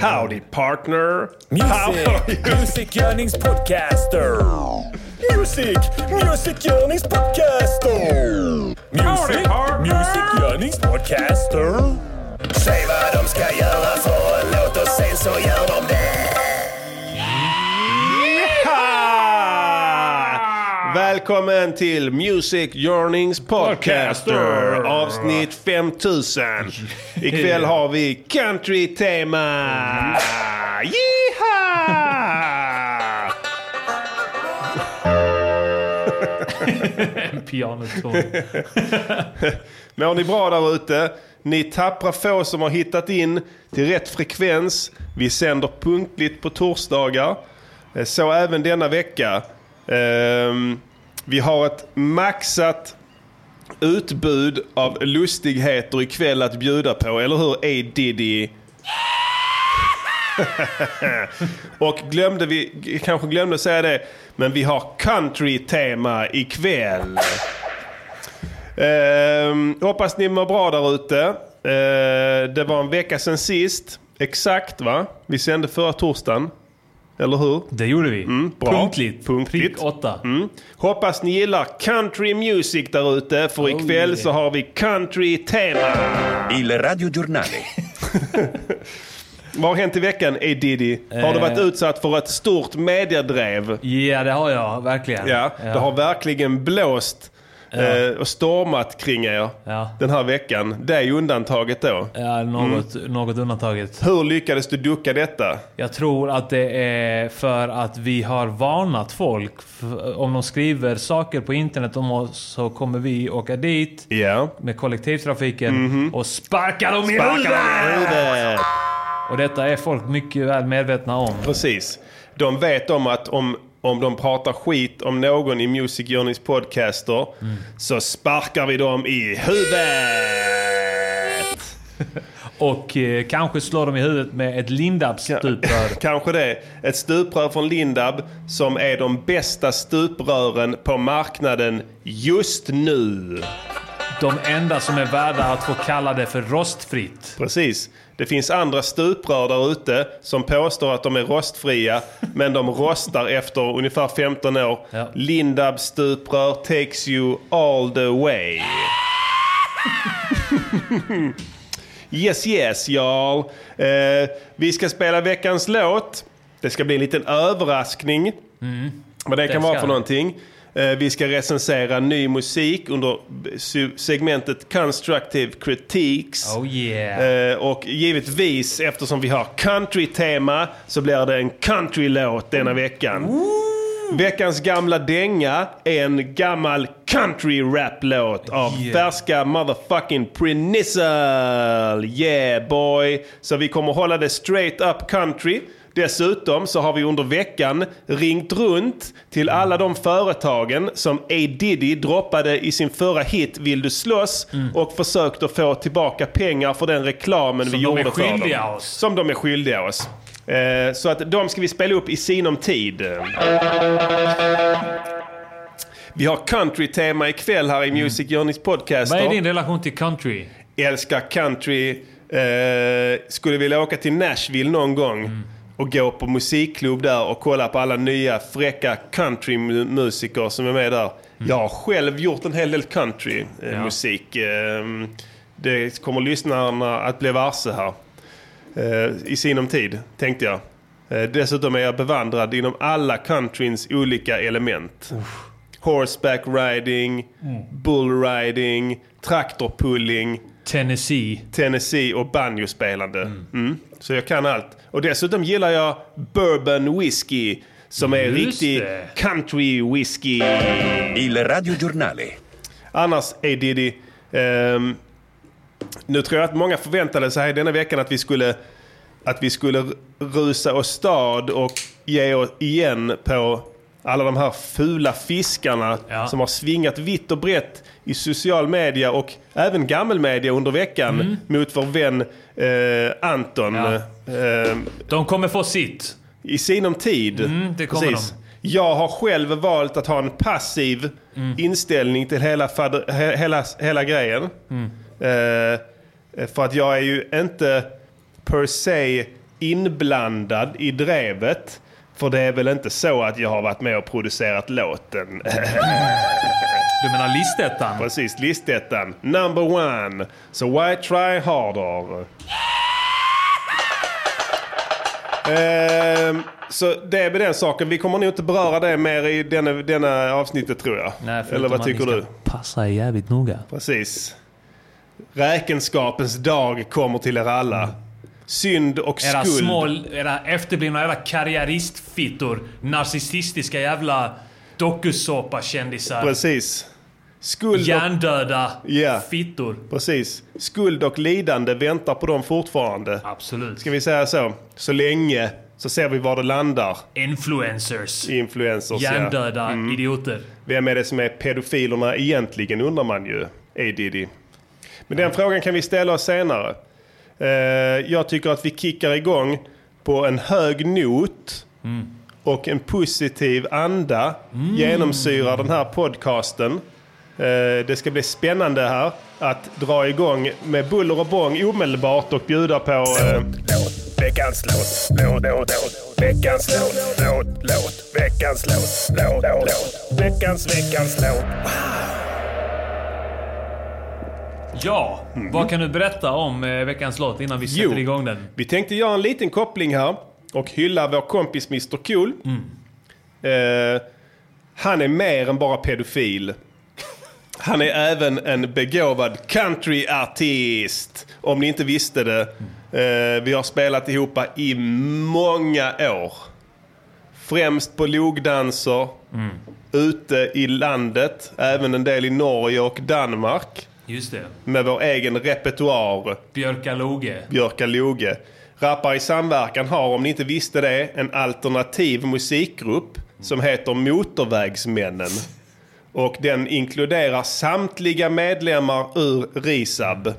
Howdy partner! How are Music, you? musikgörningspodcaster. Music, musikgörningspodcaster. Howdy, Music, partner. musikgörningspodcaster. Säg vad de ska göra för en låt och sen så gör de det. Ah! Ha! Välkommen till Music Yearnings Podcaster avsnitt 5000. Ikväll har vi country-tema. Mm. Yeehaw! pianoton. Mår ni bra där ute? Ni tappra få som har hittat in till rätt frekvens. Vi sänder punktligt på torsdagar. Eh, Så även denna vecka. Ehm, Vi har ett maxat utbud av lustigheter ikväll att bjuda på, eller hur A. Diddy? Och glömde vi, kanske glömde säga det, men vi har country-tema ikväll. Ehm, hoppas ni mår bra där ute. Ehm, det var en vecka sedan sist. Exakt va? Vi sände förra torsdagen. Eller hur? Mm, Det gjorde vi. bra. Punktligt. Punktligt. Mm. Prick åtta. Hoppas ni gillar country music där ute. För ikväll så har vi country-tema. Il radiogiornale. Vad har hänt i veckan, A. Diddy? Har du varit Eh. utsatt för ett stort mediedrev? Ja, det har jag verkligen. Ja, det har verkligen blåst eh, och stormat kring er Ja. den här veckan. Det är ju undantaget då. Mm. Ja, något, något undantaget. Hur lyckades du ducka detta? Jag tror att det är för att vi har varnat folk. F- Om de skriver saker på internet om oss så kommer vi åka dit Ja. Mhm. med kollektivtrafiken och sparka dem i Sparka dem i huvudet! huvudet! Och detta är folk mycket väl medvetna om. Precis. De vet om att om, om de pratar skit om någon i Music Journeys podcaster Mm. så sparkar vi dem i huvudet! Och eh, kanske slår dem i huvudet med ett lindabstuprör. Kanske det. Ett stuprör från Lindab som är de bästa stuprören på marknaden just nu. De enda som är värda att få kalla det för rostfritt. Precis. Det finns andra stuprör där ute som påstår att de är rostfria, men de rostar efter ungefär 15 år. Ja. Lindab stuprör takes you all the way. yes, yes, y'all. Eh, vi ska spela veckans låt. Det ska bli en liten överraskning. Vad det, kan vara ska för Mm, det. någonting. Eh, Vi ska recensera ny musik under b- su- segmentet Constructive Critiques. Oh yeah. Eh, Och givetvis, eftersom vi har country-tema, så blir det en country-låt denna veckan. Veckans gamla dänga är en gammal country-rap-låt av Yeah. färska motherfucking Prenizzle. Yeah boy! Så vi kommer hålla det straight up country. Dessutom så har vi under veckan ringt runt till alla de företagen som A. Diddy droppade i sin förra hit Vill du slåss? Mm. och försökt att få tillbaka pengar för den reklamen vi Som de gjorde är för dem. skyldiga oss. Som de är skyldiga oss. Eh, Så att de ska vi spela upp i sinom tid. Vi har country-tema ikväll här i Music Journeys podcast. Mm. Vad är din relation till country? Älskar country. Eh, skulle vilja åka till Nashville någon gång Mm. och gå på musikklubb där och kolla på alla nya fräcka countrymusiker som är med där. Mm. Jag har själv gjort en hel del countrymusik. Ehm, det kommer lyssnarna att bli varse här eh, i sinom tid, tänkte jag. Eh, dessutom är jag bevandrad inom alla countryns olika element. Horseback riding, Mm. bull riding, traktorpulling, Tennessee. Tennessee och banjospelande. Mm. Så jag kan allt. Och dessutom gillar jag bourbon whisky som är Just riktig det. country whisky. Il radiogiornale. Annars är Diddy... ehm, nu tror jag att många förväntade sig här denna veckan att vi skulle, att vi skulle rusa åstad och ge oss igen på alla de här fula fiskarna Ja. som har svingat vitt och brett i social media och även gammelmedia under veckan mot vår vän eh, Anton. Mm. Ja. Ehm, De kommer få sitt. i sinom tid. Mm, det kommer de. Jag har själv valt att ha en passiv Mm. inställning till hela, fader, he, hela, hela Mm. eh, grejen. Eh, för att jag är ju inte per se inblandad i drevet. För det är väl inte så att jag har varit med och producerat låten. Du menar listettan? Precis, listettan. Number one. So why try harder? Ehm, så det är väl den saken. Vi kommer nog inte beröra det mer i denna, denna avsnittet tror jag. Eller vad tycker du? Passa jävligt noga. Precis. Räkenskapens dag kommer till er alla. Synd och Era skuld. små, era efterblivna jävla karriäristfittor. Narcissistiska jävla dokusåpa-kändisar. Precis. Skuld och... Hjärndöda Ja. fittor. Precis. Skuld och lidande väntar på dem fortfarande. Absolut. Ska vi säga så? Så länge så ser vi var det landar. Influencers. Influencers ja. Mm. Hjärndöda idioter. Vem är det som är pedofilerna egentligen undrar man ju. A Diddy. Men den frågan kan vi ställa oss senare. Eh, jag tycker att vi kickar igång på en hög not och en positiv anda genomsyrar den här podcasten. Eh, det ska bli spännande här att dra igång med buller och bång omedelbart och bjuda på... Eh, låt, veckans låt, låt, låt, låt, veckans låt, låt, låt, veckans låt, låt, låt, låt, veckans, veckans låt. Ja, vad kan du berätta om eh, veckans låt innan vi sätter Mm. Jo. igång den? Vi tänkte göra en liten koppling här och hylla vår kompis Mr Cool. Eh, han är mer än bara pedofil. Han är även en begåvad countryartist. Om ni inte visste det. Eh, vi har spelat ihop i många år. Främst på logdanser. Ute i landet. Även en del i Norge och Danmark. Just det. Med vår egen repertoar. Björkaloge. Björkaloge. Rappar i samverkan har, om ni inte visste det, en alternativ musikgrupp som heter Motorvägsmännen. Och den inkluderar samtliga medlemmar ur RISAB. Eh,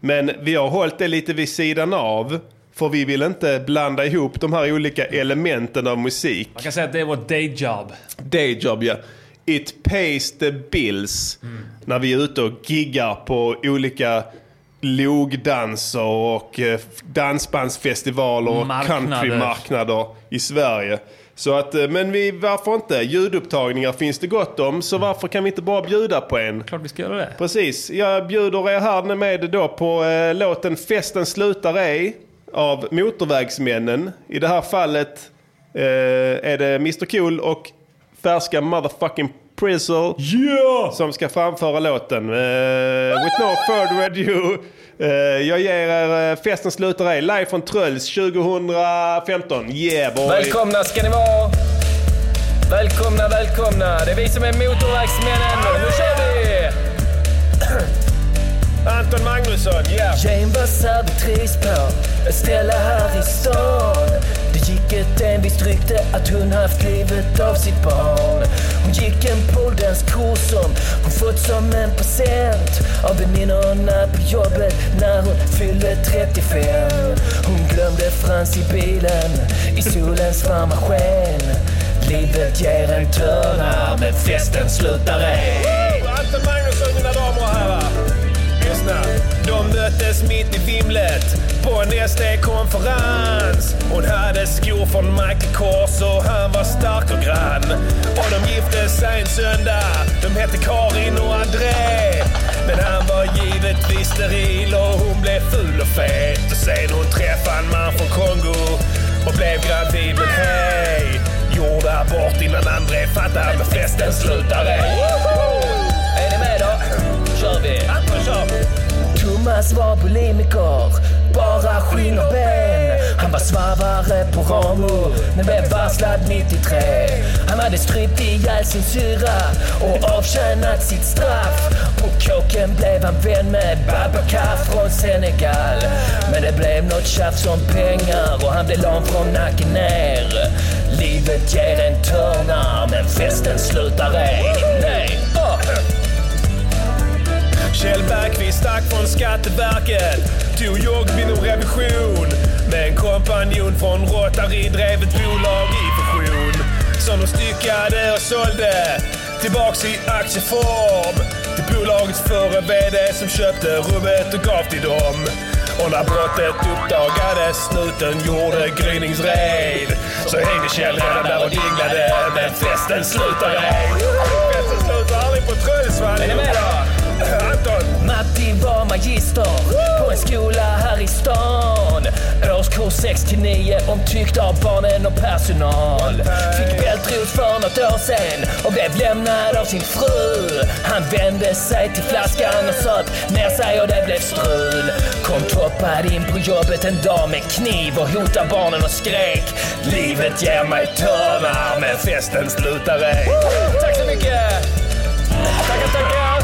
Men vi har hållit det lite vid sidan av. För vi vill inte blanda ihop de här olika elementen av musik. Man kan säga att det är vårt dayjob. Dayjob ja. It pays the bills. När vi är ute och giggar på olika logdanser och eh, dansbandsfestivaler och Marknader. countrymarknader i Sverige. Så att, eh, men vi, varför inte? Ljudupptagningar finns det gott om, så varför kan vi inte bara bjuda på en? Klart vi ska göra det. Precis, jag bjuder er här med då på eh, låten Festen slutar ej av Motorvägsmännen. I det här fallet eh, är det Mr Cool och färska motherfucking Prizzle Ja! som ska framföra låten. Eh, with no further ado. Eh, jag ger er eh, Festen slutar ej live från Trölls 2015. Yeah boy! Välkomna ska ni vara! Välkomna, välkomna! Det är vi som är motorvägsmännen. Nu kör vi! Anton Magnusson, yeah! Jane var servitris på ett ställe här i stan. Det gick ett envist rykte att hon haft livet av sitt barn. Hon gick en poldance-kurs som hon fått som en present av väninnorna på jobbet när hon fyllde 35. Hon glömde Frans i bilen i solens varma sken. Livet ger en törna men festen slutar ej. Anton Magnusson, mina damer och herrar. Lyssna. De möttes mitt i vimlet på en SD-konferens. Hon hade skor från Michael Kors och han var stark och grann. Och de gifte sig en söndag. De hette Karin och André. Men han var givetvis steril och hon blev ful och fet. Och sen hon träffade en man från Kongo och blev gravid. Men hej! Gjorde abort innan André fattade. Men festen slutade. Är ni med då? kör vi! Anton kör! Thomas var bulimiker, bara skinn och ben. Han var svarvare på Ramu, men blev varslad 93. Han hade strypt ihjäl sin syra och avtjänat sitt straff. På kåken blev han vän med Babacar från Senegal. Men det blev något tjafs om pengar och han blev lam från nacken ner. Livet ger en törnar, men festen slutar ej. Nej, Ah. åh. Kjell Bergqvist stack från Skatteverket. Tog jobb inom revision. Med en kompanjon från Rotary drev ett bolag i fusion. Som de styckade och sålde. Tillbaks i aktieform. Till bolagets förre VD som köpte rubbet och gav till dem. Och när brottet uppdagades, snuten gjorde gryningsred. Så hängde Kjell redan där och dinglade, men festen slutar ej. Festen slutar aldrig på Trulsvall. Är ni med då? Anton, Matti var magister på en skola här i stan. Årskurs 6 till 9 omtyckt av barnen och personal. Fick bältrot för något år sen och blev lämnad av sin fru. Han vände sig till flaskan och söp ner sig och det blev strul. Kom toppad in på jobbet en dag med kniv och hotade barnen och skrek. Livet ger mig törnar men festen slutar ej. Tack så mycket! Tackar, tackar!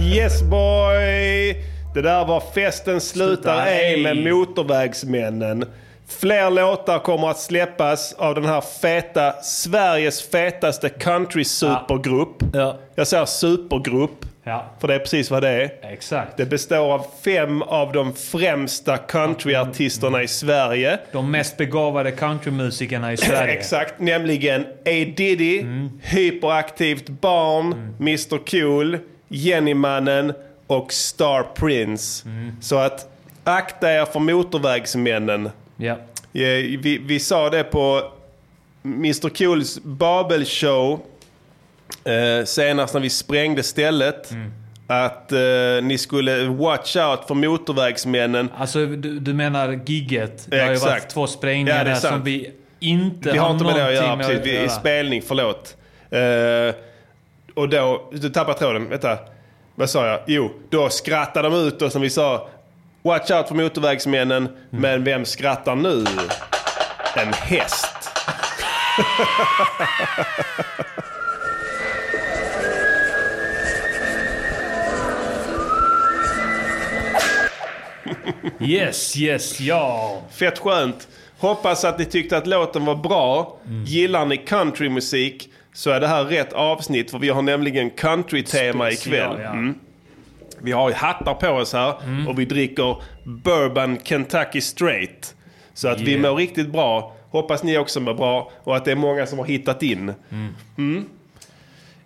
Yes boy! Det där var Festen slutar ej med Motorvägsmännen. Fler låtar kommer att släppas av den här feta, Sveriges fetaste country-supergrupp. Ja. Jag säger supergrupp, Ja, för det är precis vad det är. exakt. Det består av fem av de främsta countryartisterna i Sverige. De mest begåvade countrymusikerna i Sverige. Exakt, nämligen A Diddy, Hyperaktivt Barn, Mr Cool, Jennymannen och Star Prince. Så att akta er för motorvägsmännen. Ja. Ja, Vi, vi sa det på Mr Cools Babelshow eh, senast när vi sprängde stället. Att eh, ni skulle watch out för motorvägsmännen. Alltså du, du menar gigget? Det har ju varit Exakt. två sprängningar Ja, det är där som sant. vi inte Vi har inte med någonting det att göra, precis. Vi, I spelning, förlåt. Eh, och då, du tappar tråden, vänta. Vad sa jag? Jo, då skrattade de ut och som vi sa, watch out för motorvägsmännen, men vem skrattar nu? En häst. Yes, yes, ja. Fett skönt. Hoppas att ni tyckte att låten var bra. Mm. Gillar ni countrymusik så är det här rätt avsnitt för vi har nämligen countrytema ikväll. ja. Mm. Vi har ju hattar på oss här Mm. och vi dricker Bourbon Kentucky Straight. Så att vi Yeah. mår riktigt bra. Hoppas ni också mår bra och att det är många som har hittat in. Mm. Mm.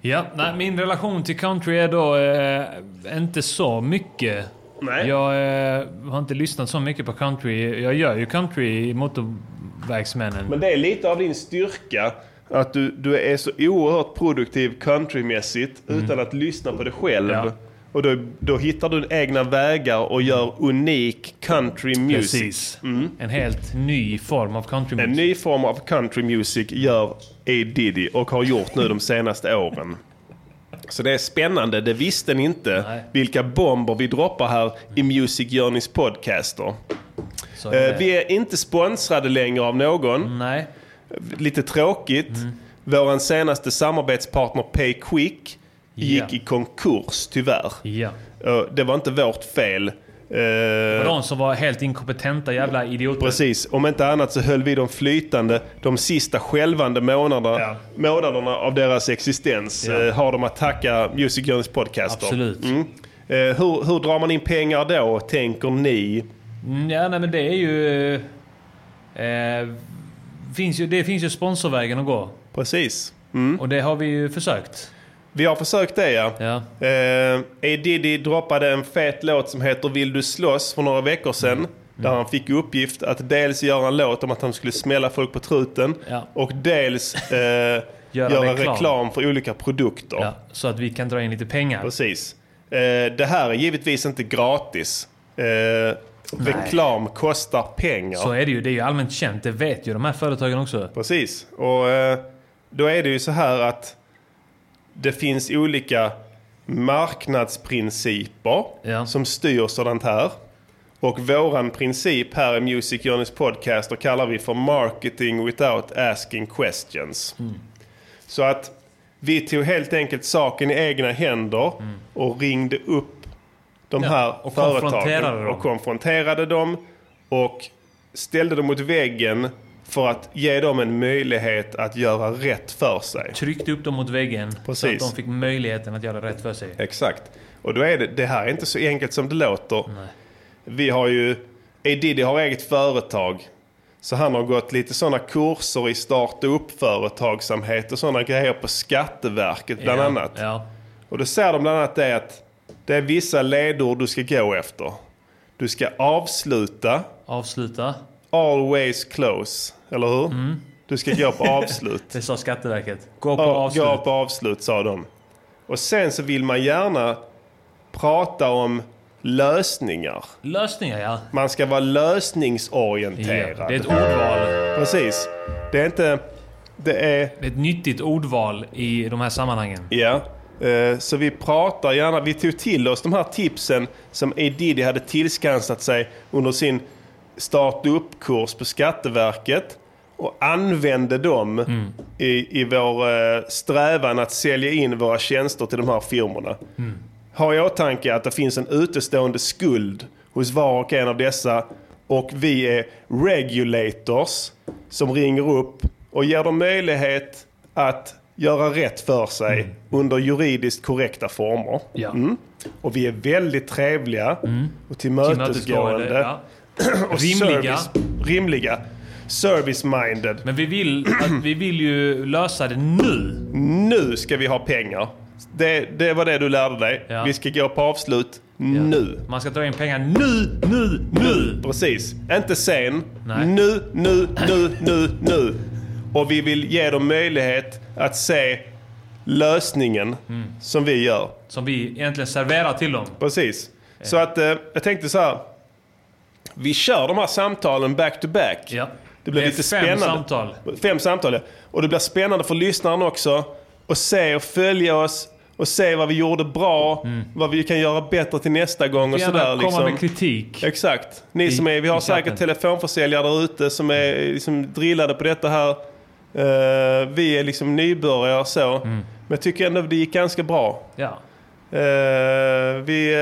Ja, nej, min relation till country är då eh, inte så mycket. Nej. Jag eh, har inte lyssnat så mycket på country. Jag gör ju country i Motorvägsmännen. Men det är lite av din styrka. Att du, du är så oerhört produktiv countrymässigt utan att lyssna på det själv. Mm. Ja. Och då, då hittar du egna vägar och gör unik country music. Mm. Precis. En helt ny form av country En ny form av country music gör A. Diddy och har gjort nu de senaste åren. Så det är spännande, det visste ni inte. Nej. Vilka bomber vi droppar här i Music Journeys podcaster. Så Eh, är det. Vi är inte sponsrade längre av någon. Nej. Mm. Lite tråkigt. Vår senaste samarbetspartner Payquick gick Ja. i konkurs tyvärr. Ja. Eh, Det var inte vårt fel. Eh, De som var helt inkompetenta jävla idioter. Precis, om inte annat så höll vi dem flytande de sista skälvande månaderna, Ja. månaderna av deras existens. Ja. eh, Har de att tacka Music Journeys podcaster. Absolut. Mm. Eh, Hur, hur drar man in pengar då, tänker ni? Mm, Ja, nej, men det är ju... Eh, finns ju det finns ju sponsorvägen att gå. Precis. Och det har vi ju försökt. Vi har försökt det ja. Ja. Eh, A. Diddy droppade en fet låt som heter Vill du slåss för några veckor sedan. Mm. Där han fick i uppgift att dels göra en låt om att han skulle smälla folk på truten Ja. och dels eh, göra, Göra reklam. reklam. för olika produkter. Ja, så att vi kan dra in lite pengar. Precis. Eh, det här är givetvis inte gratis. Eh, reklam kostar pengar. Så är det ju. Det är ju allmänt känt. Det vet ju de här företagen också. Precis. Och eh, då är det ju så här att det finns olika marknadsprinciper Ja. som styr sådant här. Och våran princip här i Music Journeys podcast och kallar vi för marketing without asking questions. Mm. Så att vi tog helt enkelt saken i egna händer och ringde upp de Mm. Ja, här och företagen konfronterade dem. och konfronterade dem och ställde dem mot väggen för att ge dem en möjlighet att göra rätt för sig. Tryckte upp dem mot väggen så att Precis. de fick möjligheten att göra rätt för sig. Exakt. Och då är det, det här är inte så enkelt som det låter. Vi har ju, A. Diddy har eget företag. Så han har gått lite sådana kurser i starta upp företagsamhet och sådana grejer på Skatteverket bland ja. annat. Ja. Och då säger de bland annat det att det är vissa ledord du ska gå efter. Du ska avsluta, Avsluta. Mm. always close, eller hur? Du ska gå på avslut. Det sa Skatteverket. Gå på Ja, avslut. gå på avslut sa de. Och sen så vill man gärna prata om lösningar. Lösningar ja. Man ska vara ja. lösningsorienterad. Det är ett ordval. Precis. Det är inte... Det är... Det är ett nyttigt ordval i de här sammanhangen. Ja. Eh, Så vi pratar gärna, vi tog till oss de här tipsen som A. Diddy hade tillskansat sig under sin starta upp-kurs på Skatteverket och använde dem Mm. i, i vår eh, strävan att sälja in våra tjänster till de här firmorna. Mm. Ha i åtanke att det finns en utestående skuld hos var och en av dessa och vi är regulators som ringer upp och ger dem möjlighet att göra rätt för sig under juridiskt korrekta former. Mm. Ja. Mm. Mm. Och vi är väldigt trevliga och tillmötesgående. Ja. och Rimliga. Service, rimliga. Service-minded. Men vi vill, att, vi vill ju lösa det nu. Nu ska vi ha pengar. Det, det var det du lärde dig. Ja. Vi ska gå på avslut nu. Man ska dra in pengar nu, nu, nu! Precis. Inte sen. Nej. Nu, nu, nu, nu, nu. Och vi vill ge dem möjlighet att se lösningen som vi gör. Mm. Som vi egentligen serverar till dem. Precis. Så att eh, jag tänkte så här. Vi kör de här samtalen back to back. Ja. Det blir är lite fem spännande. samtal. Fem samtal, ja. Och det blir spännande för lyssnaren också. Och se och följa oss. Och se vad vi gjorde bra. Vad vi kan göra bättre till nästa gång Mm. och Gärna komma sådär. Liksom. med kritik. Exakt. Ni som är, vi i har chatten. säkert telefonförsäljare där ute som är liksom drillade på detta här. Eh, vi är liksom nybörjare och så. Mm. Men jag tycker ändå det gick ganska bra. Ja. Eh, vi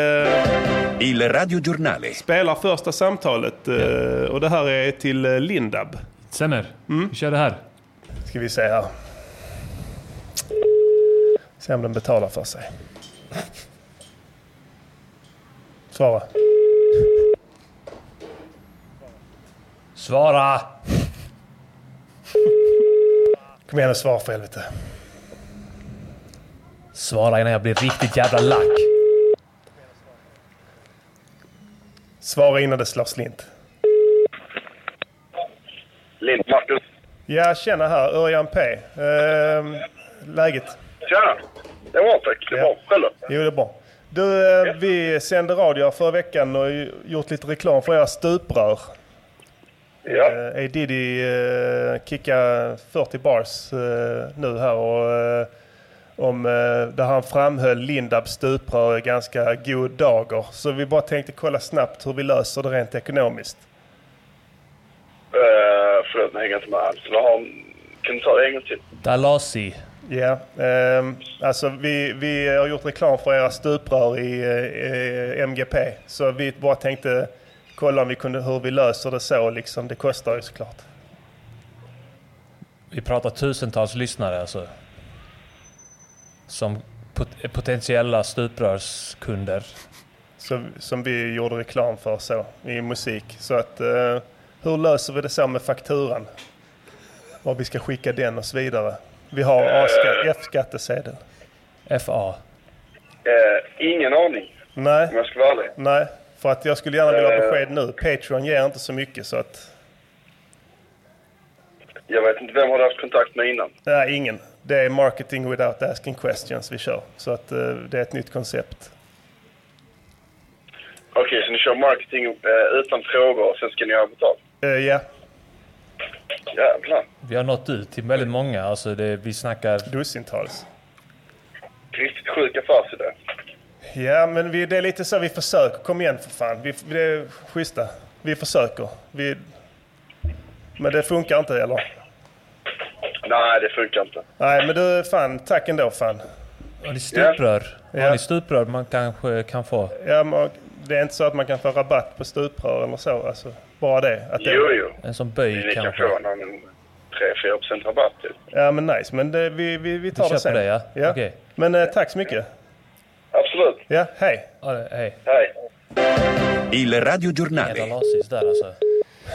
eh, Il radiogiornale. spelar första samtalet eh, och det här är till eh, Lindab. Mm. Stämmer. Vi kör det här. Ska vi se här. Se om den betalar för sig. Svara. Ah, Svara! Kom igen och svara för helvete. Svara innan jag blir riktigt jävla lack. Svara innan det slår slint. Lind Marcus. Ja, tjena här. Örjan P. Ehm, läget? Tjena! Det var tack. Det var själv. Jo, det är bra. Du, eh, vi sände radio här förra veckan och gjort lite reklam för era stuprör. Ja. Eh, A. Diddy eh, kickar 40 bars eh, nu här och eh, om, eh, där han framhöll Lindabs stuprör i ganska god dager. Så vi bara tänkte kolla snabbt hur vi löser det rent ekonomiskt. Uh, förlåt, jag hänger inte med alls. Vad har... Kan du ta det en gång till? Dalasi. Ja, ehm, alltså vi, vi har gjort reklam för era stuprör i eh, eh, MGP. Så vi bara tänkte kolla om vi kunde, hur vi löser det så. Liksom. Det kostar ju såklart. Vi pratar tusentals lyssnare alltså. Som pot- potentiella stuprörskunder. Så, som vi gjorde reklam för så, i musik. Så att, eh, hur löser vi det så med fakturan? Var vi ska skicka den och så vidare. Vi har A-skatt- F-skattesedel. FA. Eh, ingen aning, om Nej, jag ska vara ärlig. nej. För att jag skulle gärna vilja ha besked nu. Patreon ger inte så mycket så att... Jag vet inte vem har du haft kontakt med innan. Nej, ingen. Det är marketing without asking questions vi kör. Så att eh, det är ett nytt koncept. Okej, så ni kör marketing eh, utan frågor och sen ska ni ha betalt? Eh, ja, Jävlar. Vi har nått ut till väldigt många. Alltså det, vi snackar... dussintals. Riktigt sjuk affärsidé. Ja, men vi, det är lite så vi försöker. Kom igen för fan. Vi, det är schyssta. Vi försöker. Vi, men det funkar inte eller? Nej, det funkar inte. Nej, men du fan. Tack ändå fan. Har ni stuprör? Ja. Har ni stuprör man kanske kan få? Ja, men, det är inte så att man kan få rabatt på stuprör eller så. Alltså, bara det. Att det Jo, jo. En sån Ni böj kan kanske? få någon 3-4 procent rabatt typ. Ja, men nice. Men det, vi, vi, vi tar Vi det kör sen. på det, ja. Okej. Men eh, tack så mycket. Absolut. Ja, hej. Ja, det- hej. Hej. Il Jävla radiogiornale. lasis där alltså.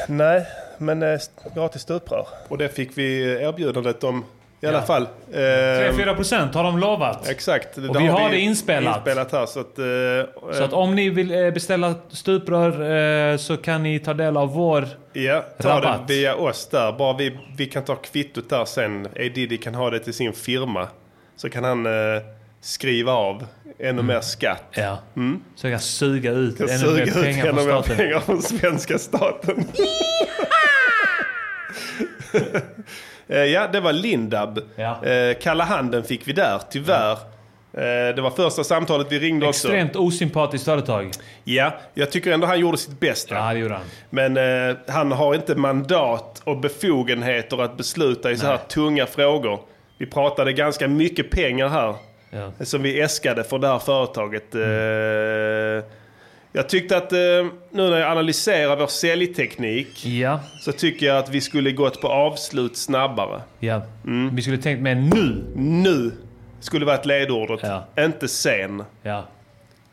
Nej, men eh, st- gratis stuprör. Och det fick vi erbjudandet om eh, i alla fall. Ehm, 3-4 procent har de lovat. Exakt. Och vi har det inspelat. inspelat här, så att, eh, Så att om ni vill eh, beställa stuprör eh, så kan ni ta del av vår... Ja, ta Rabatt. det via oss där. Bara vi, vi kan ta kvittot där sen. A. Diddy kan ha det till sin firma. Så kan han eh, skriva av ännu mer skatt. Mm. Ja. Så jag kan suga ut Mm. Kan ännu suga mer ut pengar från ännu mer staten. pengar från svenska staten. Eh, ja, det var Lindab. Ja. Eh, Kalla handen fick vi där, tyvärr. Eh, Det var första samtalet vi ringde också. Extremt osympatiskt företag. Ja, jag tycker ändå han gjorde sitt bästa. Ja, det gjorde han. Men eh, han har inte mandat och befogenheter att besluta i så här tunga frågor. Vi pratade ganska mycket pengar här Ja. Mm. som vi äskade för det här företaget. Eh, jag tyckte att eh, nu när jag analyserar vår säljteknik Ja, så tycker jag att vi skulle gått på avslut snabbare. ja. Mm. Vi skulle tänkt med nu. Nu skulle vara ett ledordet, Ja. inte sen. Ja,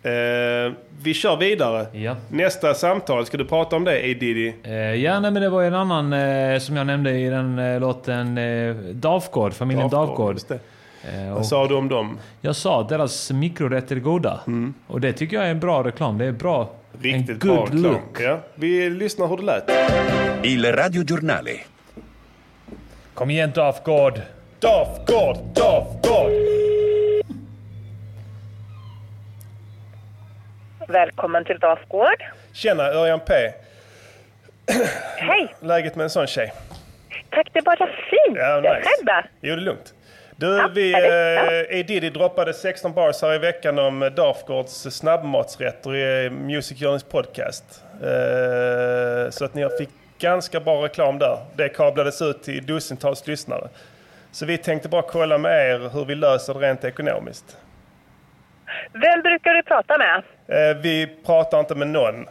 Eh, vi kör vidare. ja. Nästa samtal, ska du prata om det A. Diddy? Eh, ja, nej, men det var ju en annan eh, som jag nämnde i den eh, låten eh, Dafgård, familjen Dafgård. Just det. Eh, och Vad sa du om dem? Mm. jag sa att deras mikrorätter är goda. Och det tycker jag är en bra reklam. Det är bra. en Riktigt good bra reklam. look. Ja, vi lyssnar hur det lät. Il radiogiornale. Kom igen Dafgård. Dafgård, Dafgård! Välkommen till Dafgård. Tjena, Örjan P. Hej! Läget med en sån tjej? Tack, det är bara fint. Ja, nice. Själv då? Jo, det är lugnt. Du, vi... härligt. Eh, Edidi droppade 16 bars här i veckan om eh, Dafgårds snabbmatsrätter i eh, Music Journeys podcast. Eh, så att ni fick ganska bra reklam där. Det kablades ut till dussintals lyssnare. Så vi tänkte bara kolla med er hur vi löser det rent ekonomiskt. Vem brukar du prata med? Eh, Vi pratar inte med någon.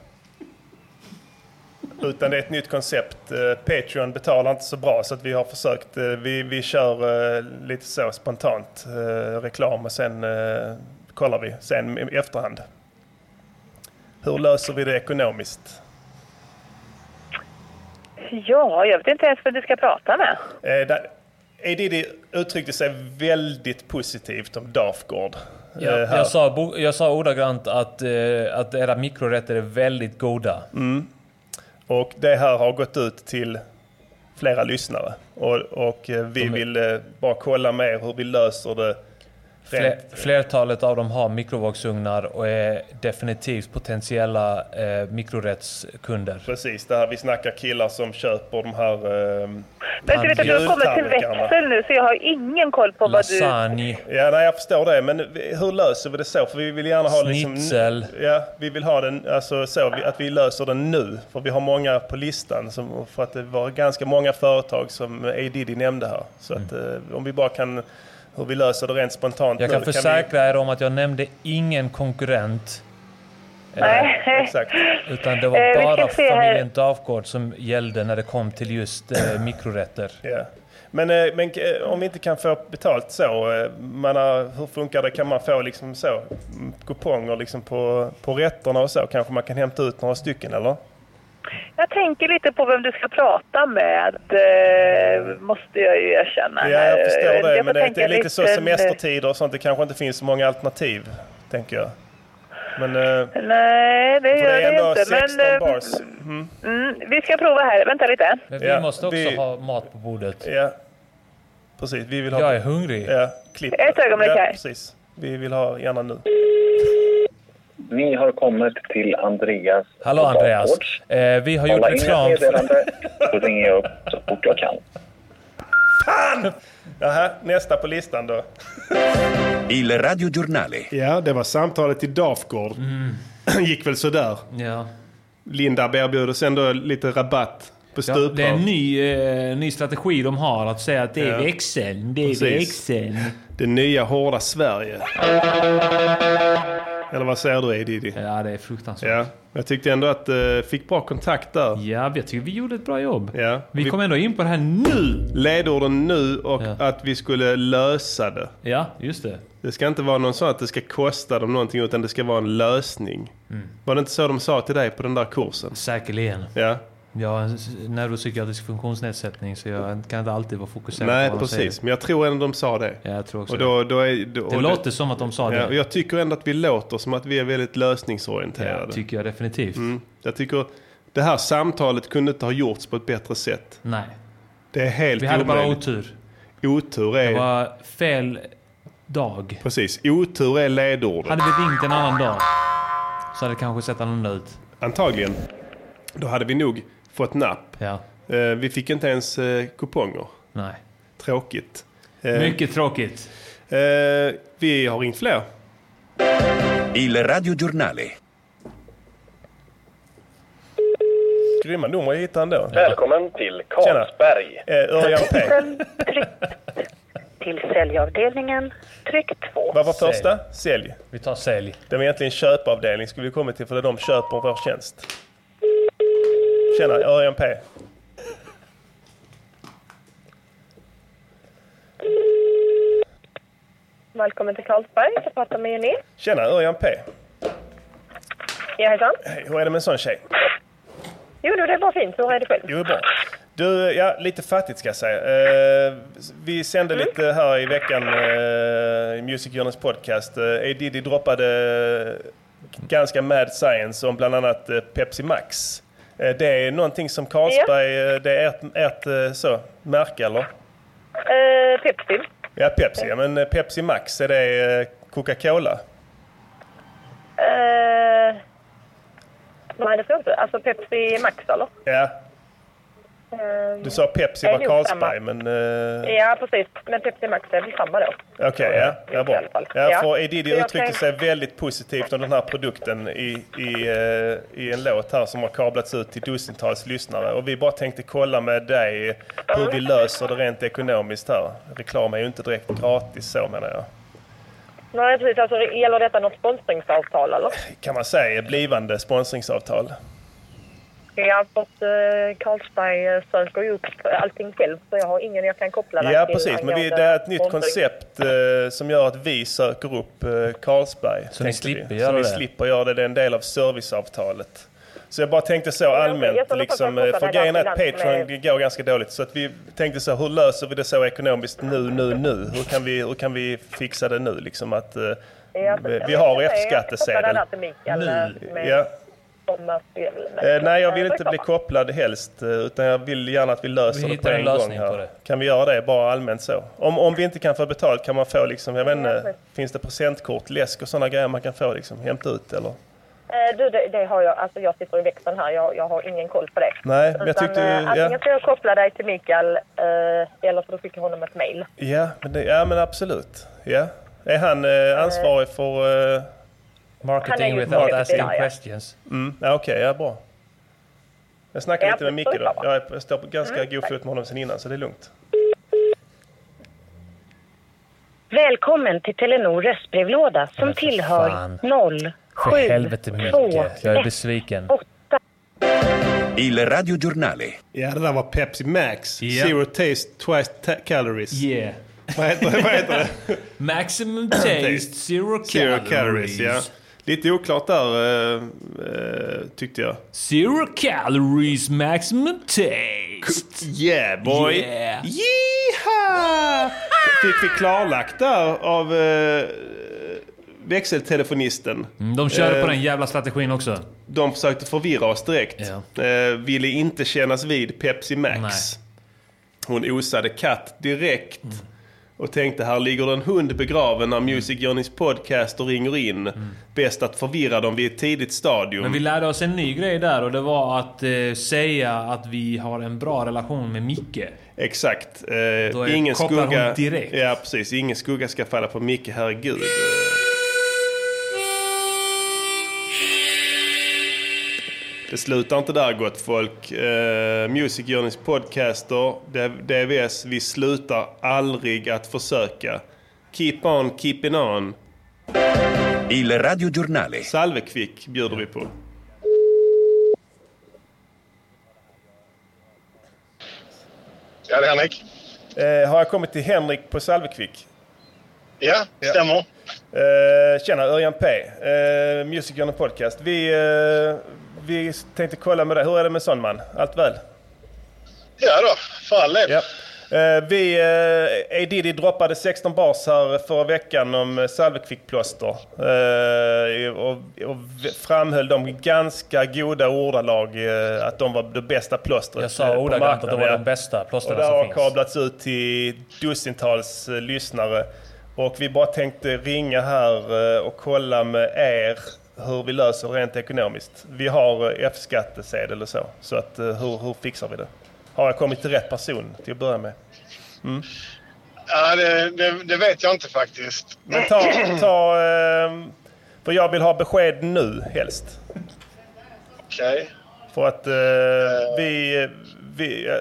Utan det är ett nytt koncept. Eh, Patreon betalar inte så bra så att vi har försökt. eh, Vi, vi kör eh, lite så spontant eh, reklam och sen eh, kollar vi sen i efterhand. Hur löser vi det ekonomiskt? Ja, jag vet inte ens vem du ska prata med. Eh, där- Edidi uttryckte sig väldigt positivt om Dafgård. eh, Jag, här. jag, sa, bo- jag sa ordagrant att, eh, att era mikrorätter är väldigt goda. Mm. Och det här har gått ut till flera lyssnare. Och, och eh, vi vill eh, bara kolla med er hur vi löser det. Fler, Rent. flertalet av dem har mikrovågsugnar och är definitivt potentiella eh, mikrorättskunder. Precis, det här vi snackar killar som köper de här... ehm, Men du vet att jag har kommit till Jultallrikarna. växel nu så jag har ingen koll på vad du... Lasagne. ja, nej, jag förstår det. Men vi- hur löser vi det så? För vi vill gärna ha Schnitzel. liksom... Ja, vi vill ha den alltså, så vi- att vi löser den nu. För vi har många på listan. Som, för att det var ganska många företag som A. Diddy nämnde här. Så att, eh, om vi bara kan... Hur vi löser det rent spontant Jag nu, kan vi- försäkra er om att jag nämnde ingen konkurrent. Nej. Exakt. Utan det Eh, var vi ska bara se här. familjen Dafgård som gällde när det kom till just eh, mikrorätter. Ja. Men, eh, men eh, om vi inte kan få betalt så, eh, man har, hur funkar det? Kan man få liksom så, mm, kuponger liksom på, på rätterna och så? Kanske man kan hämta ut några stycken eller? Jag tänker lite på vem du ska prata med. eh, måste jag ju erkänna. Ja, jag Eh, förstår det. får Men det, det tänka är lite så lite- semestertider och sånt. Det kanske inte finns så många alternativ, tänker jag. Men eh, Nej, det för gör det är det ändå inte. 16 Men, eh, bars. Mm, vi ska prova här. Vänta lite. Men vi Ja, måste också vi- ha mat på bordet. Ja, precis. Vi vill ha... Jag är hungrig. Ja, klipp. Ett ögonblick ja, här. precis. Vi vill ha gärna nu. Ni har kommit till Andreas. Hallå på Andreas. Bakgårds. Eh, vi har gjort Hålla in ett reklam. för- meddelande så ringer jag upp så fort jag kan. Jaha, nästa på listan då. Il radiogiornale. Ja, det var samtalet till Dafgård. Gick väl sådär. Ja. Linda erbjuder sen då lite rabatt på Ja, stuprör. det är en ny, eh, ny strategi de har, att säga att det är Ja. växeln. Det är Precis. växeln. Det nya hårda Sverige. Eller vad säger du Edidi? Ja, det är fruktansvärt. Ja, jag tyckte ändå att eh, fick bra kontakt där. Ja, jag tycker vi gjorde ett bra jobb. Ja. Vi Vi- kom ändå in på det här nu! Ledorden nu och Ja. att vi skulle lösa det. Ja, just det. Det ska inte vara någon sån att det ska kosta dem någonting utan det ska vara en lösning. Var det inte så de sa till dig på den där kursen? Mm. Säkerligen. Ja. Jag har en s- neuropsykiatrisk funktionsnedsättning så jag kan inte alltid vara fokuserad Nej, på vad de säger. precis. Men jag tror ändå de sa det. Ja, jag tror också Och då, då är, då, och det. Det låter som att de sa Ja, och det. jag tycker ändå att vi låter som att vi är väldigt lösningsorienterade. Ja, tycker jag definitivt. Mm. Jag tycker det här samtalet kunde inte ha gjorts på ett bättre sätt. Nej. Det är helt Vi hade bara omöjligt. otur. Otur är... Det var fel dag. Precis, otur är ledordet. Hade vi ringt en annan dag så hade det kanske sett annorlunda ut. Antagligen. Då hade vi nog fått napp. Ja, Eh, vi fick inte ens eh, kuponger. nej. Tråkigt. Eh, Mycket tråkigt. eh, vi har ringt fler. Il radiogiornale. Grymma nummer jag hittade ändå. Välkommen till Karlsberg. Eh, Örjan P. Till säljavdelningen, tryck 2. Vad var första? Sälj. Vi tar sälj. Det var egentligen köpavdelning skulle vi komma till för det är de köper vår tjänst. Tjena, Örjan P. Välkommen till Carlsberg, jag pratar med Jenny. Tjena, Örjan P. Ja, hejsan. Hej, hur är det med en sån tjej? Jo, det var fint. Hur är det själv? Jo, bra. Du, ja, lite fattigt ska jag säga. Eh, vi sände Mm. lite här i veckan eh, i Musicjournalens podcast. Eh, A. Diddy droppade ganska mad science om bland annat eh, Pepsi Max. Eh, det är någonting som Carlsberg, eh, det är ert, ert eh, så, märke eller? Eh, Pepsi. Ja, Pepsi. Ja, men eh, Pepsi Max, är det eh, Coca-Cola? Eh, nej, det tror jag inte. Alltså Pepsi Max, eller? Ja, Eh, du sa Pepsi Det är var nog Carlsberg, men... eh, ja, precis. Men Pepsi Max är väl samma då? Okej, ja. ja, bra. I alla fall. Ja, Ja. för Edidi Jag uttryckte tänk- sig väldigt positivt om den här produkten i, i, eh, i en låt här som har kablats ut till dussintals lyssnare. Och vi bara tänkte kolla med dig hur vi löser det rent ekonomiskt här. Reklam är ju inte direkt gratis så menar jag. Nej, precis. Alltså, gäller detta något sponsringsavtal, eller? Kan man säga blivande sponsringsavtal? Ja, för att eh, Carlsberg eh, söker ju upp allting själv, så jag har ingen jag kan koppla det Ja till precis, men vi, angående det är ett nytt sponsring. koncept eh, som gör att vi söker upp eh, Carlsberg. Så ni tänkte slipper vi. göra så det? vi slipper göra det. Det är en del av serviceavtalet. Så jag bara tänkte så okej. allmänt, Jag får liksom, hoppas eh, att för det där grejen är att finns Patreon med- går ganska dåligt. Så att vi tänkte så, hur löser vi det så ekonomiskt nu, nu, nu? Hur kan vi, hur kan vi fixa det nu? Liksom att, eh, Ja, vi, precis. vi har Jag ska säga, jag ska kolla F-skattesedel. det här till Mikael, eh, med- Ja. kommersiell. Eh, nej, jag vill Eh, inte bli reklam. kopplad helst, eh, utan jag vill gärna att vi löser Vi det på hittar en, en lösning gång. Här. på det. Kan vi göra det bara allmänt så? Om, om vi inte kan få betalt, kan man få liksom, jag vet inte, finns det presentkort, läsk och sådana grejer man kan få liksom, hämta ut eller? Eh, Du, det, det har jag. Alltså jag sitter i växeln här. Jag, jag har ingen koll på det. Nej, men jag Utan, tyckte... eh, Antingen Ja, ska jag koppla dig till Mikael eh, eller så skickar jag honom ett mejl. ja, men, det, ja men absolut. Ja. Är han eh, ansvarig för... Eh, Han är Marketing ju without marketing, asking ja, ja. questions. mm, ja, Okej, ja bra. Jag snackade Ja, lite med det Micke står bra. då. Jag är- Jag står på ganska Mm, god fot med honom sen innan, så det är lugnt. Välkommen till Telenor röstbrevlåda som Men för tillhör fan. 0 För 7 helvete 2 Micke, jag är 1 besviken. 8 Il radiogiornale. Ja, det där var Pepsi Max. Ja. Zero taste, twice ta- calories. Yeah. Vad heter det? Vad heter det? Maximum taste, zero calories. Zero calories, ja. Lite oklart där, eh, eh, tyckte jag. Zero calories, maximum taste. Yeah boy! Yeah. Yeehaw! Fick vi klarlagt där av eh, växeltelefonisten. Mm, De körde Eh. på den jävla strategin också. De försökte förvirra oss direkt. Ja. Eh, ville inte kännas vid Pepsi Max. Hon osade katt direkt. Och tänkte här ligger det en hund begraven när Music Journeys podcaster ringer in. Bäst att förvirra dem vid ett tidigt stadium. Mm. Men vi lärde oss en ny grej där och det var att eh, säga att vi har en bra relation med Micke. Exakt. Eh, är- ingen kopplar hon skugga, direkt. Ja, precis. Ingen skugga ska falla på Micke, herregud. Det slutar inte där gott folk. Eh, Music Journeys podcaster, D- DVS, vi slutar aldrig att försöka. Keep on, keeping on. Il radiogiornale. Salvekvick bjuder vi på. Ja, det är Henrik. Eh, har jag kommit till Henrik på Salvekvick? Ja, stämmer. Eh, tjena, Örjan P. Eh, Music Journal Podcast. Vi, eh, vi tänkte kolla med dig. Hur är det med sån man? Allt väl? Ja då, fan lev. Ja. Eh, vi, eh, A. Diddy droppade 16 bars här förra veckan om eh, salvekvickplåster. Eh, och, och v- framhöll de i ganska goda ordalag eh, att de var det bästa plåstret Jag sa eh, på ordagrant att de var marknaden, de bästa och plåstren det som har finns. kablats ut till dussintals eh, lyssnare. Och vi bara tänkte ringa här eh, och kolla med er hur vi löser rent ekonomiskt. Vi har eh, F-skattesedel och så. Så att, eh, hur, hur fixar vi det? Har jag kommit till rätt person till att börja med? Mm. Ja, det, det, det vet jag inte faktiskt. Men ta, ta... eh, För jag vill ha besked nu helst. Okej. För att eh, vi, vi eh,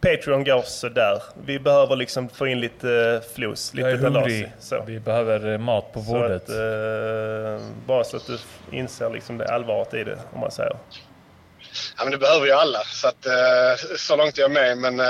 Patreon går sådär. Vi behöver liksom få in lite eh, flos, lite Jag är talasi. hungrig. Vi behöver eh, mat på Så bordet. att, eh, bara så att du inser liksom det allvaret i det, om man säger. Ja, men det behöver ju alla, så, att, eh, så långt är jag med. Men, eh,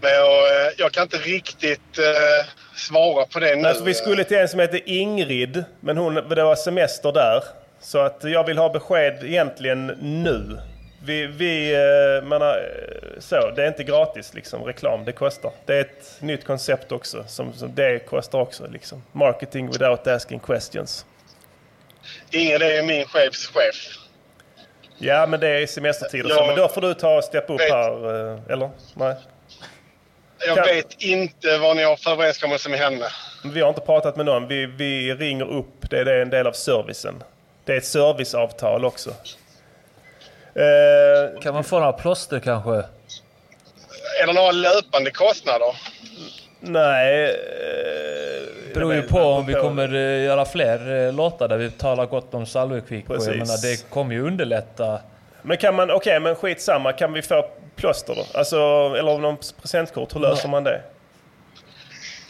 men jag, eh, jag kan inte riktigt eh, svara på det nu. Nej, för Alltså, vi skulle till en som heter Ingrid, men hon, det var semester där. Så att jag vill ha besked egentligen nu. Vi, vi eh, man har, eh, så, det är inte gratis liksom, reklam, det kostar. Det är ett nytt koncept också, som, som det kostar också. Liksom. Marketing without asking questions. Ingen är ju min chefs chef. Ja, men det är semestertider så, Ja. men då får du ta och steppa upp Vet- här, eh, eller? Nej. Jag Kan- vet inte vad ni har för överenskommelse med henne. Men Vi har inte pratat med någon, vi, vi ringer upp, det, det är en del av servicen. Det är ett serviceavtal också. eh, Kan man få några plåster kanske? Är det några löpande kostnader? Nej. eh, Beror ju på om vi kommer eh, göra fler eh, låtar där vi talar gott om Salvekvick. Och jag Precis. menar, det kommer ju underlätta. Men kan man, okej men skitsamma, kan vi få plåster då? Alltså, eller någon presentkort, hur löser man det?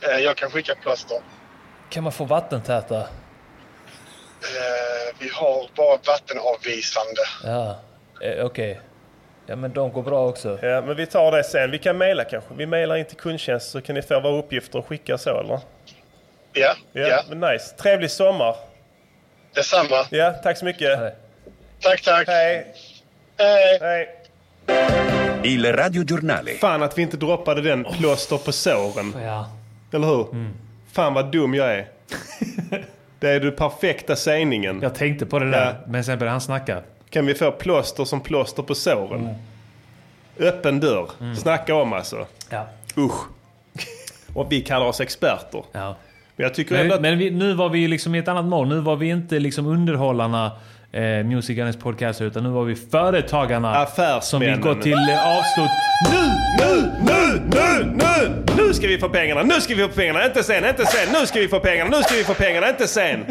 Eh, Jag kan skicka plåster. Kan man få vattentäta? Eh, Vi har bara vattenavvisande. Ja, eh, okej. Ja men de går bra också. Ja, men vi tar det sen. Vi kan mejla kanske. Vi mejlar in till kundtjänst så kan ni få våra uppgifter och skicka så eller? Ja, ja. Men nice. Trevlig sommar. Detsamma. Ja, tack så mycket. Tack, tack. Hej. Hej. Hej. Il radiogiornale. Fan att vi inte droppade den Oh. plåster på såren. Ja. Eller hur? Mm. Fan vad dum jag är. det är den perfekta sägningen. Jag tänkte på det där, men sen började han snacka. Kan vi få plåster som plåster på såren? Mm. Öppen dörr. Snacka om alltså. Ja. Usch. Och vi kallar oss experter. Men jag tycker ändå Men, att... men vi, nu var vi ju liksom i ett annat mål. Nu var vi inte liksom underhållarna, eh, Music Gunners podcaster, utan nu var vi företagarna. Som vill gå till eh, avstånd. Nu, nu, nu, nu, nu! Nu ska vi få pengarna, nu ska vi få pengarna, inte sen, inte sen, nu ska vi få pengarna, nu ska vi få pengarna, inte sen!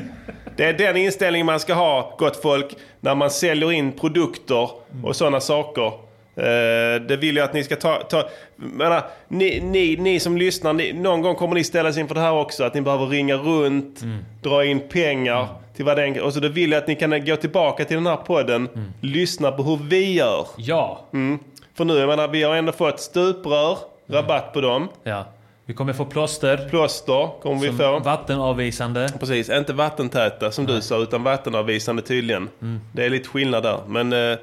Det är den inställningen man ska ha, gott folk, när man säljer in produkter och sådana saker. Eh, det vill jag att ni ska ta... ta menar, ni, ni, ni som lyssnar, ni, någon gång kommer ni ställas inför det här också. Att ni behöver ringa runt, dra in pengar. Till vad den, och så då vill jag att ni kan gå tillbaka till den här podden, lyssna på hur vi gör. Ja. Mm. För nu, jag menar, vi har ändå fått stuprör, rabatt på dem. Ja. Vi kommer få plåster. Plåster kommer vi Som få. Vattenavvisande. Precis, inte vattentäta som du sa, utan vattenavvisande tydligen. Mm. Det är lite skillnad där. Men eh,